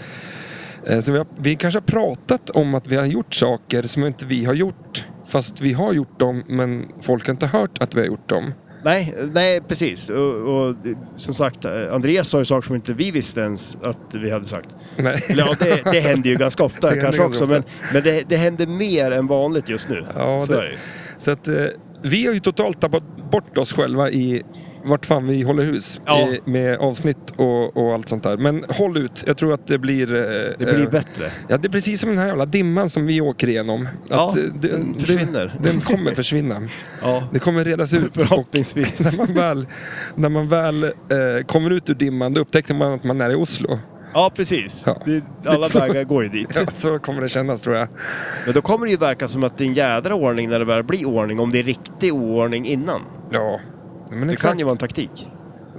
Speaker 1: Eh, Så vi, har, vi kanske har pratat om att vi har gjort saker som inte vi har gjort. Fast vi har gjort dem, men folk har inte hört att vi har gjort dem.
Speaker 2: Nej, nej precis. Och, och som sagt, eh, Andreas sa ju saker som inte vi visste ens att vi hade sagt.
Speaker 1: Nej.
Speaker 2: Eller, ja, det, det händer ju
Speaker 1: <laughs>
Speaker 2: ganska ofta
Speaker 1: händer
Speaker 2: kanske
Speaker 1: ganska
Speaker 2: också,
Speaker 1: ofta.
Speaker 2: men, men det, det händer mer än vanligt just nu.
Speaker 1: Ja,
Speaker 2: Så
Speaker 1: det-
Speaker 2: är det ju.
Speaker 1: Så att eh, vi har ju totalt tappat bort oss själva i vart fan vi håller hus
Speaker 2: Ja.
Speaker 1: i, med avsnitt och, och allt sånt där. Men håll ut, jag tror att det blir... Eh,
Speaker 2: det blir
Speaker 1: eh,
Speaker 2: bättre.
Speaker 1: ja, det är precis som den här jävla dimman som vi åker igenom. Att,
Speaker 2: Ja,
Speaker 1: eh, det-
Speaker 2: den
Speaker 1: det-
Speaker 2: försvinner.
Speaker 1: Den kommer försvinna.
Speaker 2: Ja,
Speaker 1: Det kommer redas
Speaker 2: <laughs>
Speaker 1: ut. Och
Speaker 2: förhoppningsvis.
Speaker 1: när man väl, när man väl eh, kommer ut ur dimman, då upptäcker man att man är i Oslo.
Speaker 2: Ja, precis.
Speaker 1: Ja.
Speaker 2: Det, alla
Speaker 1: så.
Speaker 2: vägar går ju dit.
Speaker 1: Ja, <laughs> så kommer det kännas tror jag.
Speaker 2: Men då kommer det ju verka som att det är en jädra ordning när det väl blir ordning, om det är riktig oordning innan.
Speaker 1: Ja, men
Speaker 2: Det
Speaker 1: exakt.
Speaker 2: kan ju vara en taktik.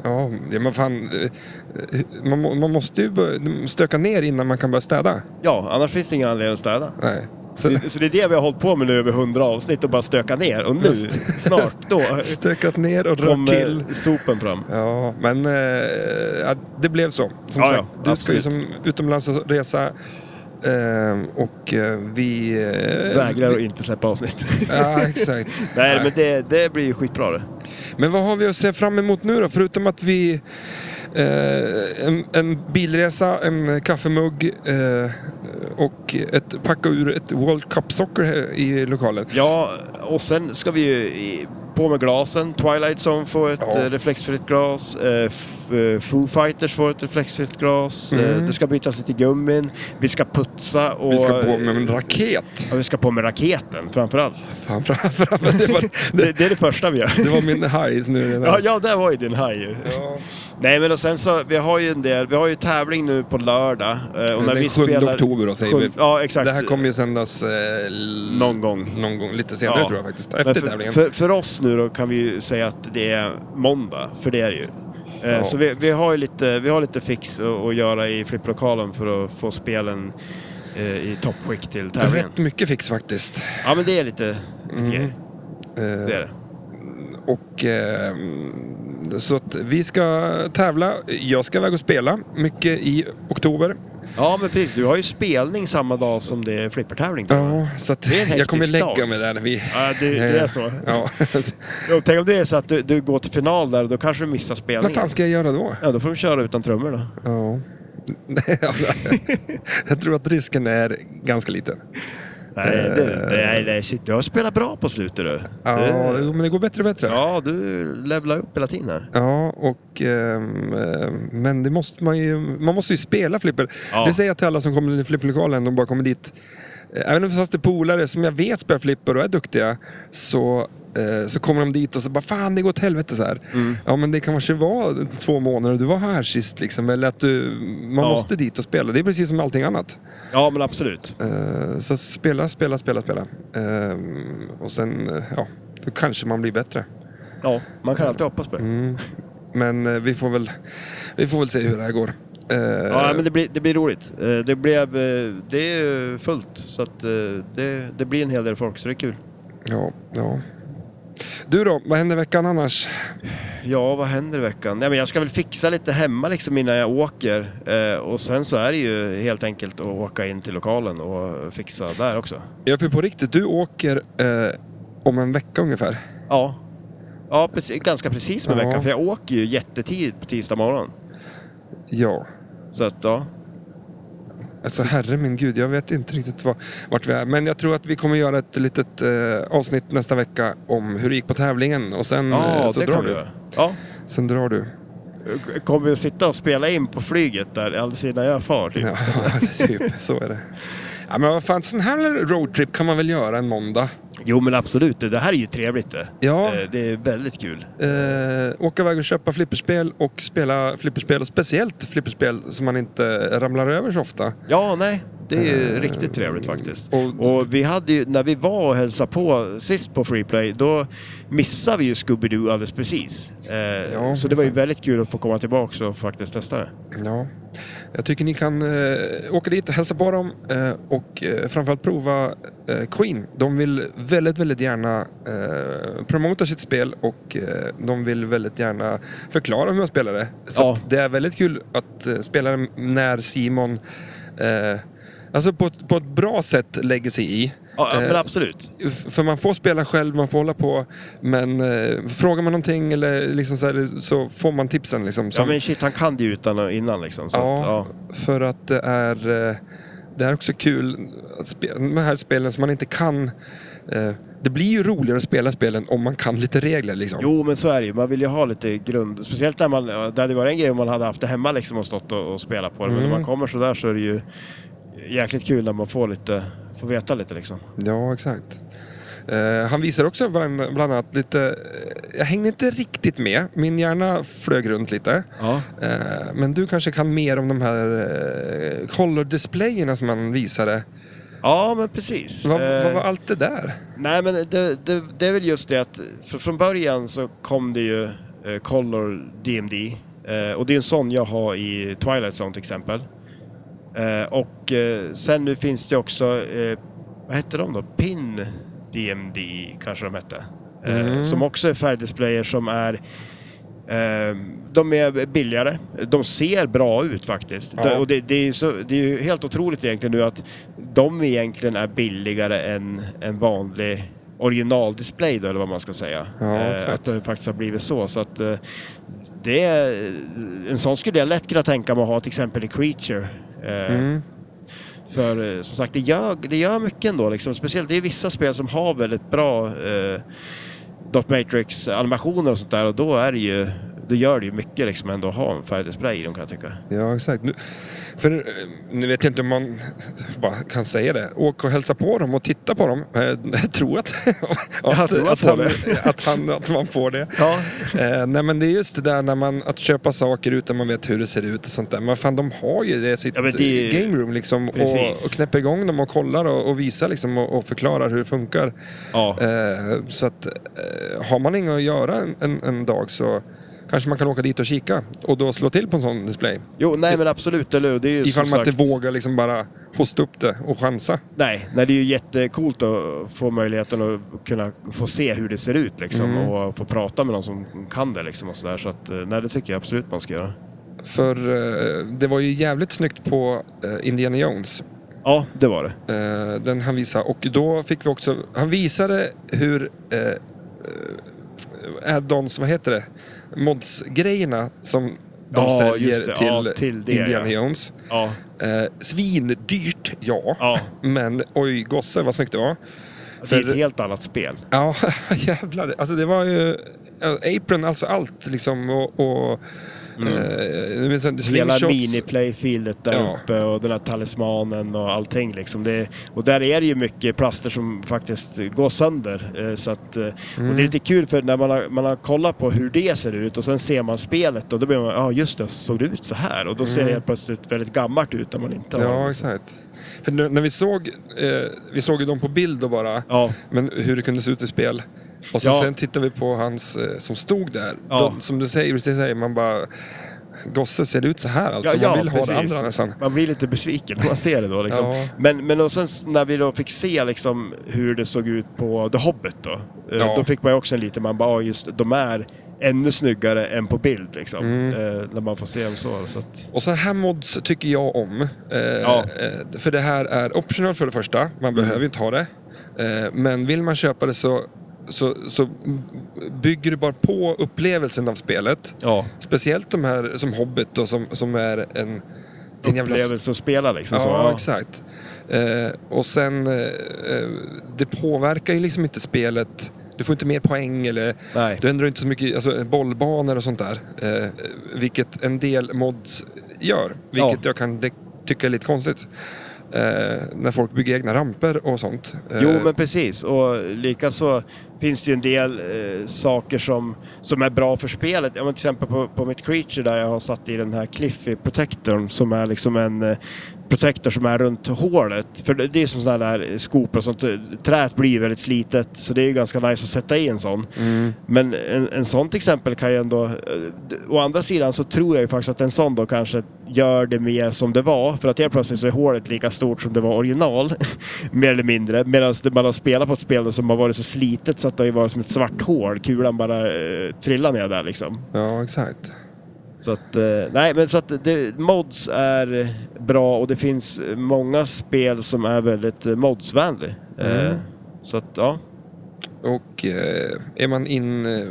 Speaker 1: Ja, ja, men fan. eh, Man, må- man måste ju börja- stöka ner innan man kan börja städa.
Speaker 2: Ja, annars finns det ingen anledning att städa.
Speaker 1: Nej. Så,
Speaker 2: Det- Så det är det vi har hållit på med nu över hundra avsnitt och bara stöka ner. Och nu,
Speaker 1: Just.
Speaker 2: snart,
Speaker 1: <laughs>
Speaker 2: då
Speaker 1: stökat ner och rört till.
Speaker 2: kommer sopen fram.
Speaker 1: Ja, men eh, ja, det blev så. Som
Speaker 2: Ja,
Speaker 1: sagt,
Speaker 2: ja,
Speaker 1: du ska ju
Speaker 2: absolut.
Speaker 1: som utomlands och resa. eh, och eh, vi... eh,
Speaker 2: Vägrar att
Speaker 1: vi-
Speaker 2: inte
Speaker 1: <laughs>
Speaker 2: släppa avsnitt.
Speaker 1: Ja, exakt.
Speaker 2: <laughs> Nej, men det, det blir ju skitbra det.
Speaker 1: Men vad har vi att se fram emot nu då? Förutom att vi... Eh, en, en bilresa, en kaffemugg eh, och ett packa ur ett World Cup Soccer här i lokalen.
Speaker 2: Ja, och sen ska vi ju i- på med glasen. Twilight Zone får ett
Speaker 1: Ja.
Speaker 2: eh, reflexfritt glas. Eh, F- eh, Foo Fighters får ett reflexfritt glas.
Speaker 1: Mm.
Speaker 2: Eh, det ska bytas lite gummin. Vi ska putsa och...
Speaker 1: Vi ska på med en raket.
Speaker 2: Ja, vi ska på med raketen framförallt.
Speaker 1: Fan, fram, fram. <laughs> Det, var,
Speaker 2: Det,
Speaker 1: det,
Speaker 2: det är det
Speaker 1: <laughs>
Speaker 2: första vi gör.
Speaker 1: det var min hajs nu. redan.
Speaker 2: Ja, ja, där var ju din haj ju.
Speaker 1: Ja.
Speaker 2: Nej men och sen så, vi har ju en del, vi har ju tävling nu på lördag. eh, Och när
Speaker 1: Den 7
Speaker 2: vi spelar...
Speaker 1: oktober då, säger
Speaker 2: sjun-
Speaker 1: vi.
Speaker 2: Ja exakt.
Speaker 1: Det här kommer ju sändas eh, l-
Speaker 2: Någon gång.
Speaker 1: någon gång lite senare
Speaker 2: Ja.
Speaker 1: tror jag faktiskt.
Speaker 2: Men
Speaker 1: Efter
Speaker 2: för,
Speaker 1: tävlingen.
Speaker 2: för, för oss nu då kan vi ju säga att det är måndag, för det är det ju. Eh,
Speaker 1: Ja.
Speaker 2: Så vi, vi, har ju lite, vi har lite fix att, att göra i flipplokalen för att få spelen eh, i toppskick till tävlingen.
Speaker 1: Rätt mycket fix faktiskt.
Speaker 2: Ja men det är lite, lite
Speaker 1: Mm.
Speaker 2: grejer.
Speaker 1: Eh,
Speaker 2: Det är det.
Speaker 1: Och eh, så att vi ska tävla. Jag ska iväg och spela mycket i oktober.
Speaker 2: Ja men precis, du har ju spelning samma dag som det är flippertävling.
Speaker 1: Ja, så att
Speaker 2: Det är en hektisk
Speaker 1: jag kommer lägga
Speaker 2: dag.
Speaker 1: mig där. Vi,
Speaker 2: Ja, det, det är så. <laughs>
Speaker 1: ja.
Speaker 2: Ja, Tänk om det är så att du, du går till final där och då kanske du missar
Speaker 1: Vad
Speaker 2: spelningen.
Speaker 1: fan ska jag göra då?
Speaker 2: Ja, då får de köra utan trummor då.
Speaker 1: Ja. <laughs> jag tror att risken är ganska liten.
Speaker 2: Nej, det, det, nej, nej, shit. Du har spelat bra på slutet du.
Speaker 1: Ja,
Speaker 2: du
Speaker 1: jo, men det går bättre och bättre.
Speaker 2: ja, du levlar upp hela tiden här.
Speaker 1: Ja, och, ehm, ehm, men det måste man ju, man måste ju spela flipper.
Speaker 2: Ja.
Speaker 1: Det säger jag till alla som kommer till flipperlokalen, de bara kommer dit. Eh, Även om fast det är polare som jag vet spelar flipper och är duktiga, så Eh, Så kommer de dit och så bara fan det går åt helvete så här.
Speaker 2: Mm.
Speaker 1: Ja men det kanske var två månader du var här sist liksom. Eller att du, man
Speaker 2: Ja.
Speaker 1: måste dit och spela. Det är precis som allting annat.
Speaker 2: Ja, men absolut.
Speaker 1: Eh, Så spela, spela, spela, spela. Eh, Och sen, eh, ja, då kanske man blir bättre.
Speaker 2: Ja, man kan alltid hoppas på det.
Speaker 1: Mm. Men eh, vi får väl, vi får väl se hur det här går. Eh,
Speaker 2: Ja, men det blir, det blir roligt. Eh, Det, blev, eh, det är fullt, så att eh, det, det blir en hel del folk, så det är kul.
Speaker 1: ja, ja. Du då, vad händer veckan annars?
Speaker 2: Ja, vad händer i veckan? Nej, men jag ska väl fixa lite hemma liksom innan jag åker. Eh, och sen så är det ju helt enkelt att åka in till lokalen och fixa där också.
Speaker 1: Ja, för på riktigt, du åker eh, om en vecka ungefär.
Speaker 2: Ja, ja precis, ganska precis med
Speaker 1: Ja.
Speaker 2: veckan. För jag åker ju jättetidigt på tisdag morgon.
Speaker 1: Ja.
Speaker 2: Så att
Speaker 1: Mm.
Speaker 2: ja,
Speaker 1: Alltså herre min gud, jag vet inte riktigt vad, vart vi är. Men jag tror att vi kommer göra ett litet eh, avsnitt nästa vecka om hur det gick på tävlingen. Och sen,
Speaker 2: ja
Speaker 1: eh, så
Speaker 2: det
Speaker 1: drar
Speaker 2: kan vi
Speaker 1: du.
Speaker 2: göra. Ja.
Speaker 1: sen drar du.
Speaker 2: Kommer vi att sitta och spela in på flyget där alldeles innan jag far? Typ.
Speaker 1: Ja, <laughs> typ så är det. Ja, men vad fan, sån här roadtrip kan man väl göra en måndag?
Speaker 2: Jo men absolut, det här är ju trevligt det.
Speaker 1: Ja,
Speaker 2: Eh, Det är väldigt kul.
Speaker 1: eh, åka iväg och köpa flipperspel och spela flipperspel. Och speciellt flipperspel som man inte ramlar över så ofta.
Speaker 2: Ja, nej, det är ju
Speaker 1: Eh,
Speaker 2: riktigt trevligt faktiskt.
Speaker 1: Och,
Speaker 2: Och vi hade ju, när vi var och hälsade på sist på Freeplay, då missade vi ju Scooby-Doo alldeles precis. Eh,
Speaker 1: Ja,
Speaker 2: så det var ju
Speaker 1: sant.
Speaker 2: väldigt kul att få komma tillbaka och faktiskt testa det.
Speaker 1: ja, jag tycker ni kan eh, åka dit och hälsa på dem eh, och eh, framförallt prova eh, Queen. De vill väldigt, väldigt gärna eh, promota sitt spel och eh, de vill väldigt gärna förklara hur man spelar det. Så
Speaker 2: Ja.
Speaker 1: att det är väldigt kul att eh, spela den när Simon eh, Alltså på ett, på ett bra sätt lägger sig i.
Speaker 2: Ja, ja,
Speaker 1: Eh,
Speaker 2: men absolut.
Speaker 1: F- För man får spela själv, man får hålla på. Men eh, frågar man någonting eller liksom så, här, så får man tipsen. Liksom,
Speaker 2: Ja
Speaker 1: som-
Speaker 2: men shit, han kan det ju utan och innan liksom. Så
Speaker 1: Ja.
Speaker 2: Att, ja.
Speaker 1: För att det är, eh, det är också kul, att spe- de här spelen som man inte kan. eh, Det blir ju roligare att spela spelen om man kan lite regler liksom.
Speaker 2: Jo men så är det ju, man vill ju ha lite grund. Speciellt när man, det hade varit en grej om man hade haft det hemma liksom och stått och, och spelat på det. Men
Speaker 1: Mm.
Speaker 2: när man kommer så där så är det ju jäkligt kul när man får lite, får veta lite liksom.
Speaker 1: Ja, exakt. Eh, han visar också bland, bland annat lite, eh, jag hängde inte riktigt med, min hjärna flög runt lite.
Speaker 2: Ja.
Speaker 1: Eh, men du kanske kan mer om de här eh, color-displayerna som han visade.
Speaker 2: Ja men precis.
Speaker 1: Vad,
Speaker 2: Eh,
Speaker 1: vad var allt det där?
Speaker 2: Nej men det, det, det är väl just det att fr- från början så kom det ju eh, Color DMD eh, och det är en sån jag har i Twilight Zone till exempel. Eh, och eh, sen nu finns det också, eh, vad hette de då? Pin DMD kanske de hette. Eh,
Speaker 1: Mm.
Speaker 2: Som också är färgdisplayer som är eh,
Speaker 1: Ehm,
Speaker 2: de är billigare, de ser bra ut faktiskt.
Speaker 1: Ja.
Speaker 2: Det- Och det, det, är ju så, det är ju helt otroligt egentligen nu att de egentligen är billigare än en vanlig originaldisplay då, eller vad man ska säga.
Speaker 1: Ja,
Speaker 2: Eh,
Speaker 1: exakt.
Speaker 2: att det faktiskt har blivit så. så att, eh, det är, en sån skulle jag lätt kunna tänka mig att ha till exempel i Creature. Eh,
Speaker 1: Mm.
Speaker 2: För eh, som sagt, det gör, det gör mycket ändå. Liksom. Speciellt det är vissa spel som har väldigt bra eh, Dot Matrix-animationer och sånt där och då är det ju då gör det ju mycket liksom ändå att ha en färgdisplay i dem kan jag tycka.
Speaker 1: Ja, exakt. Nu, för eh, nu vet jag inte om man bara kan säga det. Åk och hälsa på dem och titta på dem. Eh, Jag tror att, <laughs>
Speaker 2: Jag tror
Speaker 1: att,
Speaker 2: jag
Speaker 1: han,
Speaker 2: får
Speaker 1: <laughs> att, han, att man får det.
Speaker 2: Ja,
Speaker 1: Eh, nej men det är just det där när man, att köpa saker utan man vet hur det ser ut och sånt där. Men fan de har ju det i sitt
Speaker 2: Ja, men det-
Speaker 1: eh, game room liksom. Och,
Speaker 2: Precis.
Speaker 1: och knäpper igång dem och kollar och, och visar liksom och, och förklarar hur det funkar.
Speaker 2: ja.
Speaker 1: Eh, så att eh, har man inget att göra en, en, en dag så kanske man kan åka dit och kika. Och då slå till på en sån display.
Speaker 2: Jo, nej men absolut, eller hur? Det är ju
Speaker 1: Ifall
Speaker 2: som
Speaker 1: man inte
Speaker 2: sagt-
Speaker 1: vågar liksom bara hosta upp det och chansa.
Speaker 2: Nej, nej, det är ju jättecoolt att få möjligheten att kunna få se hur det ser ut liksom
Speaker 1: Mm.
Speaker 2: och få prata med någon som kan det liksom och sådär. Så att, eh, nej, det tycker jag absolut man ska göra.
Speaker 1: För eh, det var ju jävligt snyggt på eh, Indiana Jones.
Speaker 2: Ja, det var det.
Speaker 1: Eh, den han visade. Och då fick vi också... Han visade hur... Eh, eh, add-ons, vad heter det? Mods-grejerna som de
Speaker 2: Ja,
Speaker 1: säljer
Speaker 2: just det.
Speaker 1: till,
Speaker 2: Ja, till det,
Speaker 1: Indiana
Speaker 2: ja.
Speaker 1: Jones.
Speaker 2: Ja,
Speaker 1: Eh, svindyrt, ja.
Speaker 2: ja.
Speaker 1: Men oj gosse vad snyggt det var.
Speaker 2: Det är
Speaker 1: För- <laughs>
Speaker 2: ett helt annat spel.
Speaker 1: Ja, jävlar. Alltså det var ju... eh, apron, alltså allt liksom. Och, och eh, men sen
Speaker 2: Mm. Hela
Speaker 1: slingshots.
Speaker 2: mini-playfieldet där
Speaker 1: Ja.
Speaker 2: uppe och den här talismanen och allting liksom. Det, och där är det ju mycket plaster som faktiskt går sönder. eh, Så att, eh,
Speaker 1: Mm.
Speaker 2: Och det är lite kul för när man har, man har kollat på hur det ser ut och sen ser man spelet och då blir man, ja just det, såg det ut så här? Och då ser det helt plötsligt väldigt gammalt ut när man inte
Speaker 1: Mm. Ja,
Speaker 2: har
Speaker 1: exakt. För när när vi såg, eh, vi såg ju dem på bild då bara,
Speaker 2: Ja,
Speaker 1: men hur det kunde se ut i spel. Och så
Speaker 2: Ja.
Speaker 1: sen tittade vi på hans eh, som stod där.
Speaker 2: Ja.
Speaker 1: De, som du säger, precis säger, man bara... Gosse ser det ut så här alltså? man vill ha det andra nästan.
Speaker 2: Man blir lite besviken när man ser det då. Liksom.
Speaker 1: Ja.
Speaker 2: Men, men och sen s- när vi då fick se liksom, hur det såg ut på The Hobbit då. eh,
Speaker 1: Ja.
Speaker 2: Då fick man ju också en liten, man bara, "Ah, just det, de är ännu snyggare än på bild liksom.
Speaker 1: Mm.
Speaker 2: Eh, när man får se dem så. så att,
Speaker 1: Och så här mods tycker jag om. Eh,
Speaker 2: Ja. Mm.
Speaker 1: eh, För det här är optional för det första, man behöver ju inte ha det. Eh, men vill man köpa det så, så, så bygger du bara på upplevelsen av spelet.
Speaker 2: ja,
Speaker 1: Speciellt de här som Hobbit och som, som är en... en jävla-
Speaker 2: upplevelse att spela liksom.
Speaker 1: Ja,
Speaker 2: så, ja.
Speaker 1: exakt. Eh, och sen, eh, eh, det påverkar ju liksom inte spelet. Du får inte mer poäng eller
Speaker 2: Nej.
Speaker 1: du ändrar inte så mycket, alltså bollbanor och sånt där. Eh, vilket en del mods gör. Vilket
Speaker 2: Ja.
Speaker 1: jag kan de- tycka är lite konstigt. Eh, när folk bygger egna ramper och sånt. Eh,
Speaker 2: Jo, men precis. Och likaså finns det ju en del eh, saker som, som är bra för spelet. Ja, men till exempel på, på mitt creature där jag har satt i den här Cliffy Protectorn som är liksom en eh, protector som är runt hålet. För det, det är som sådana där skopor och sånt. Träet blir väldigt slitet så det är ju ganska nice att sätta i en sån.
Speaker 1: Mm.
Speaker 2: Men en, en sån till exempel kan ju ändå... eh, d- Å andra sidan så tror jag ju faktiskt att en sån då kanske gör det mer som det var. För att helt plötsligt så är hålet lika stort som det var original. <laughs> mer eller mindre. Medan det- man har spelat på ett spel som har varit så slitet så att det har ju varit som ett svart hål. Kulan bara eh, trillar ner där liksom.
Speaker 1: Ja, exakt.
Speaker 2: Så att, eh, nej men så att det, mods är eh, bra och det finns eh, många spel som är väldigt eh, modsvänliga. Eh,
Speaker 1: Mm.
Speaker 2: Så att, ja.
Speaker 1: Och eh, är man in eh,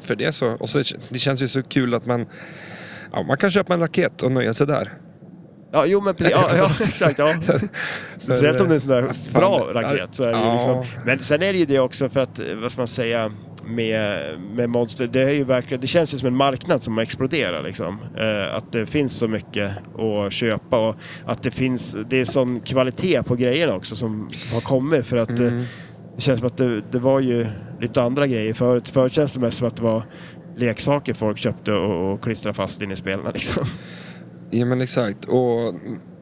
Speaker 1: för det så... Och så, det känns ju så kul att man... Ja, man kan köpa en raket och nöja sig där.
Speaker 2: Ja, jo men precis. Ja, ja, exakt. Ja. Mm.
Speaker 1: <laughs>
Speaker 2: Speciellt om det är en sån där
Speaker 1: Fan.
Speaker 2: bra raket. Så är det ju
Speaker 1: Ja.
Speaker 2: liksom. Men sen är det ju det också för att, eh, vad ska man säga, med, med Monster, det, är ju verkligen, det känns ju som en marknad som exploderar liksom. Eh, att det finns så mycket att köpa och att det finns, det är sån kvalitet på grejerna också som har kommit för att
Speaker 1: Mm.
Speaker 2: eh, det känns som att det, det var ju lite andra grejer förut. Förut känns det mest som att det var leksaker folk köpte och, och klistrade fast in i spelen liksom.
Speaker 1: Ja men exakt. Och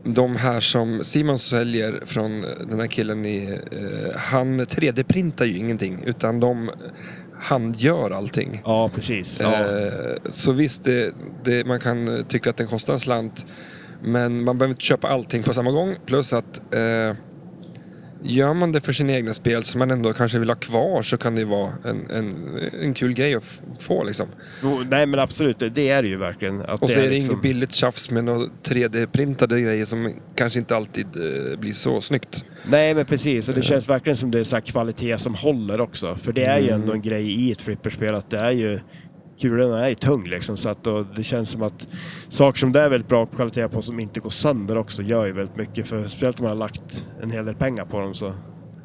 Speaker 1: de här som Simon säljer från den här killen i... Eh, han 3D-printar ju ingenting utan de handgör allting.
Speaker 2: Ja, precis. Ja.
Speaker 1: Eh, så visst, det, det, man kan tycka att den kostar en slant. Men man behöver inte köpa allting på samma gång. Plus att eh, gör man det för sina egna spel som man ändå kanske vill ha kvar så kan det ju vara en, en, en kul grej att f- få liksom.
Speaker 2: Jo, nej men absolut, det- det är det ju verkligen. Att
Speaker 1: Och så är det
Speaker 2: liksom-
Speaker 1: inget billigt tjafs med några 3D-printade grejer som kanske inte alltid eh, blir så snyggt.
Speaker 2: Nej men precis, och det känns verkligen som det är så här kvalitet som håller också. För det är ju ändå en grej i ett flipperspel att det är ju Kulorna är ju tung liksom så att och det känns som att saker som det är väldigt bra kvalitet på som inte går sönder också gör ju väldigt mycket för speciellt om man har lagt en hel del pengar på dem så.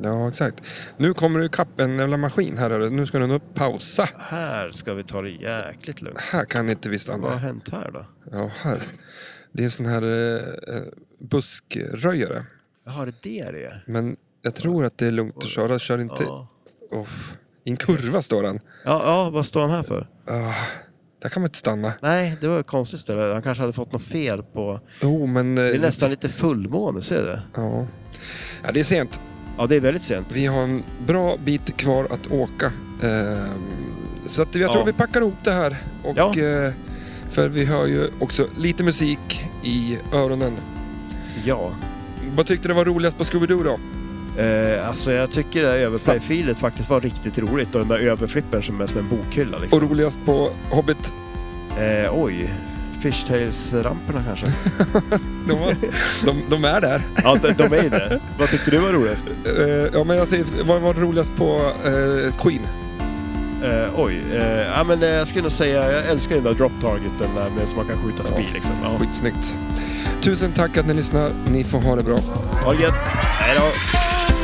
Speaker 1: Ja, exakt. Nu kommer du ikapp en jävla maskin här. hörru. Nu ska du nog pausa.
Speaker 2: Här ska vi ta det jäkligt lugnt.
Speaker 1: Här kan inte vi
Speaker 2: Vad har
Speaker 1: stanna.
Speaker 2: hänt här då?
Speaker 1: Ja, här. Det är en sån här eh, eh, buskröjare.
Speaker 2: Jaha, det är det det är?
Speaker 1: Men jag tror att det är lugnt att köra. Kör inte...
Speaker 2: Ja.
Speaker 1: Åh, I en kurva står han.
Speaker 2: Ja, ja, vad står han här för?
Speaker 1: Ah, där kan man inte stanna.
Speaker 2: Nej, det var ju konstigt ställe. Han kanske hade fått något fel på...
Speaker 1: Jo, men... eh,
Speaker 2: Det är nästan lite fullmåne, ser du det?
Speaker 1: Ja. ja, det är sent.
Speaker 2: Ja, det är väldigt sent.
Speaker 1: Vi har en bra bit kvar att åka. Ehm, Så att jag tror
Speaker 2: Ja.
Speaker 1: vi packar ihop det här. Och,
Speaker 2: Ja.
Speaker 1: eh, För vi hör ju också lite musik i öronen.
Speaker 2: Ja.
Speaker 1: Vad tyckte du var roligast på Scooby-Doo då?
Speaker 2: Eh, alltså jag tycker det här överplayfilet faktiskt var riktigt roligt och den där överflippen som är som en bokhylla
Speaker 1: Och
Speaker 2: liksom.
Speaker 1: roligast på Hobbit?
Speaker 2: Eh, oj, Fishtails-ramperna <laughs> kanske?
Speaker 1: De,
Speaker 2: <laughs>
Speaker 1: var, de, de är där.
Speaker 2: ja, de, de är ju det. Vad tyckte du var roligast?
Speaker 1: Eh, Ja, men jag säger, vad var roligast på eh, Queen?
Speaker 2: Eh, oj, eh, ja, men, eh, jag skulle nog säga jag älskar ju den där drop targeten där med, som man kan skjuta förbi liksom. Ja.
Speaker 1: Skitsnyggt. Tusen tack att ni lyssnar. Ni får ha det bra.
Speaker 2: Ha det gött! Hej då!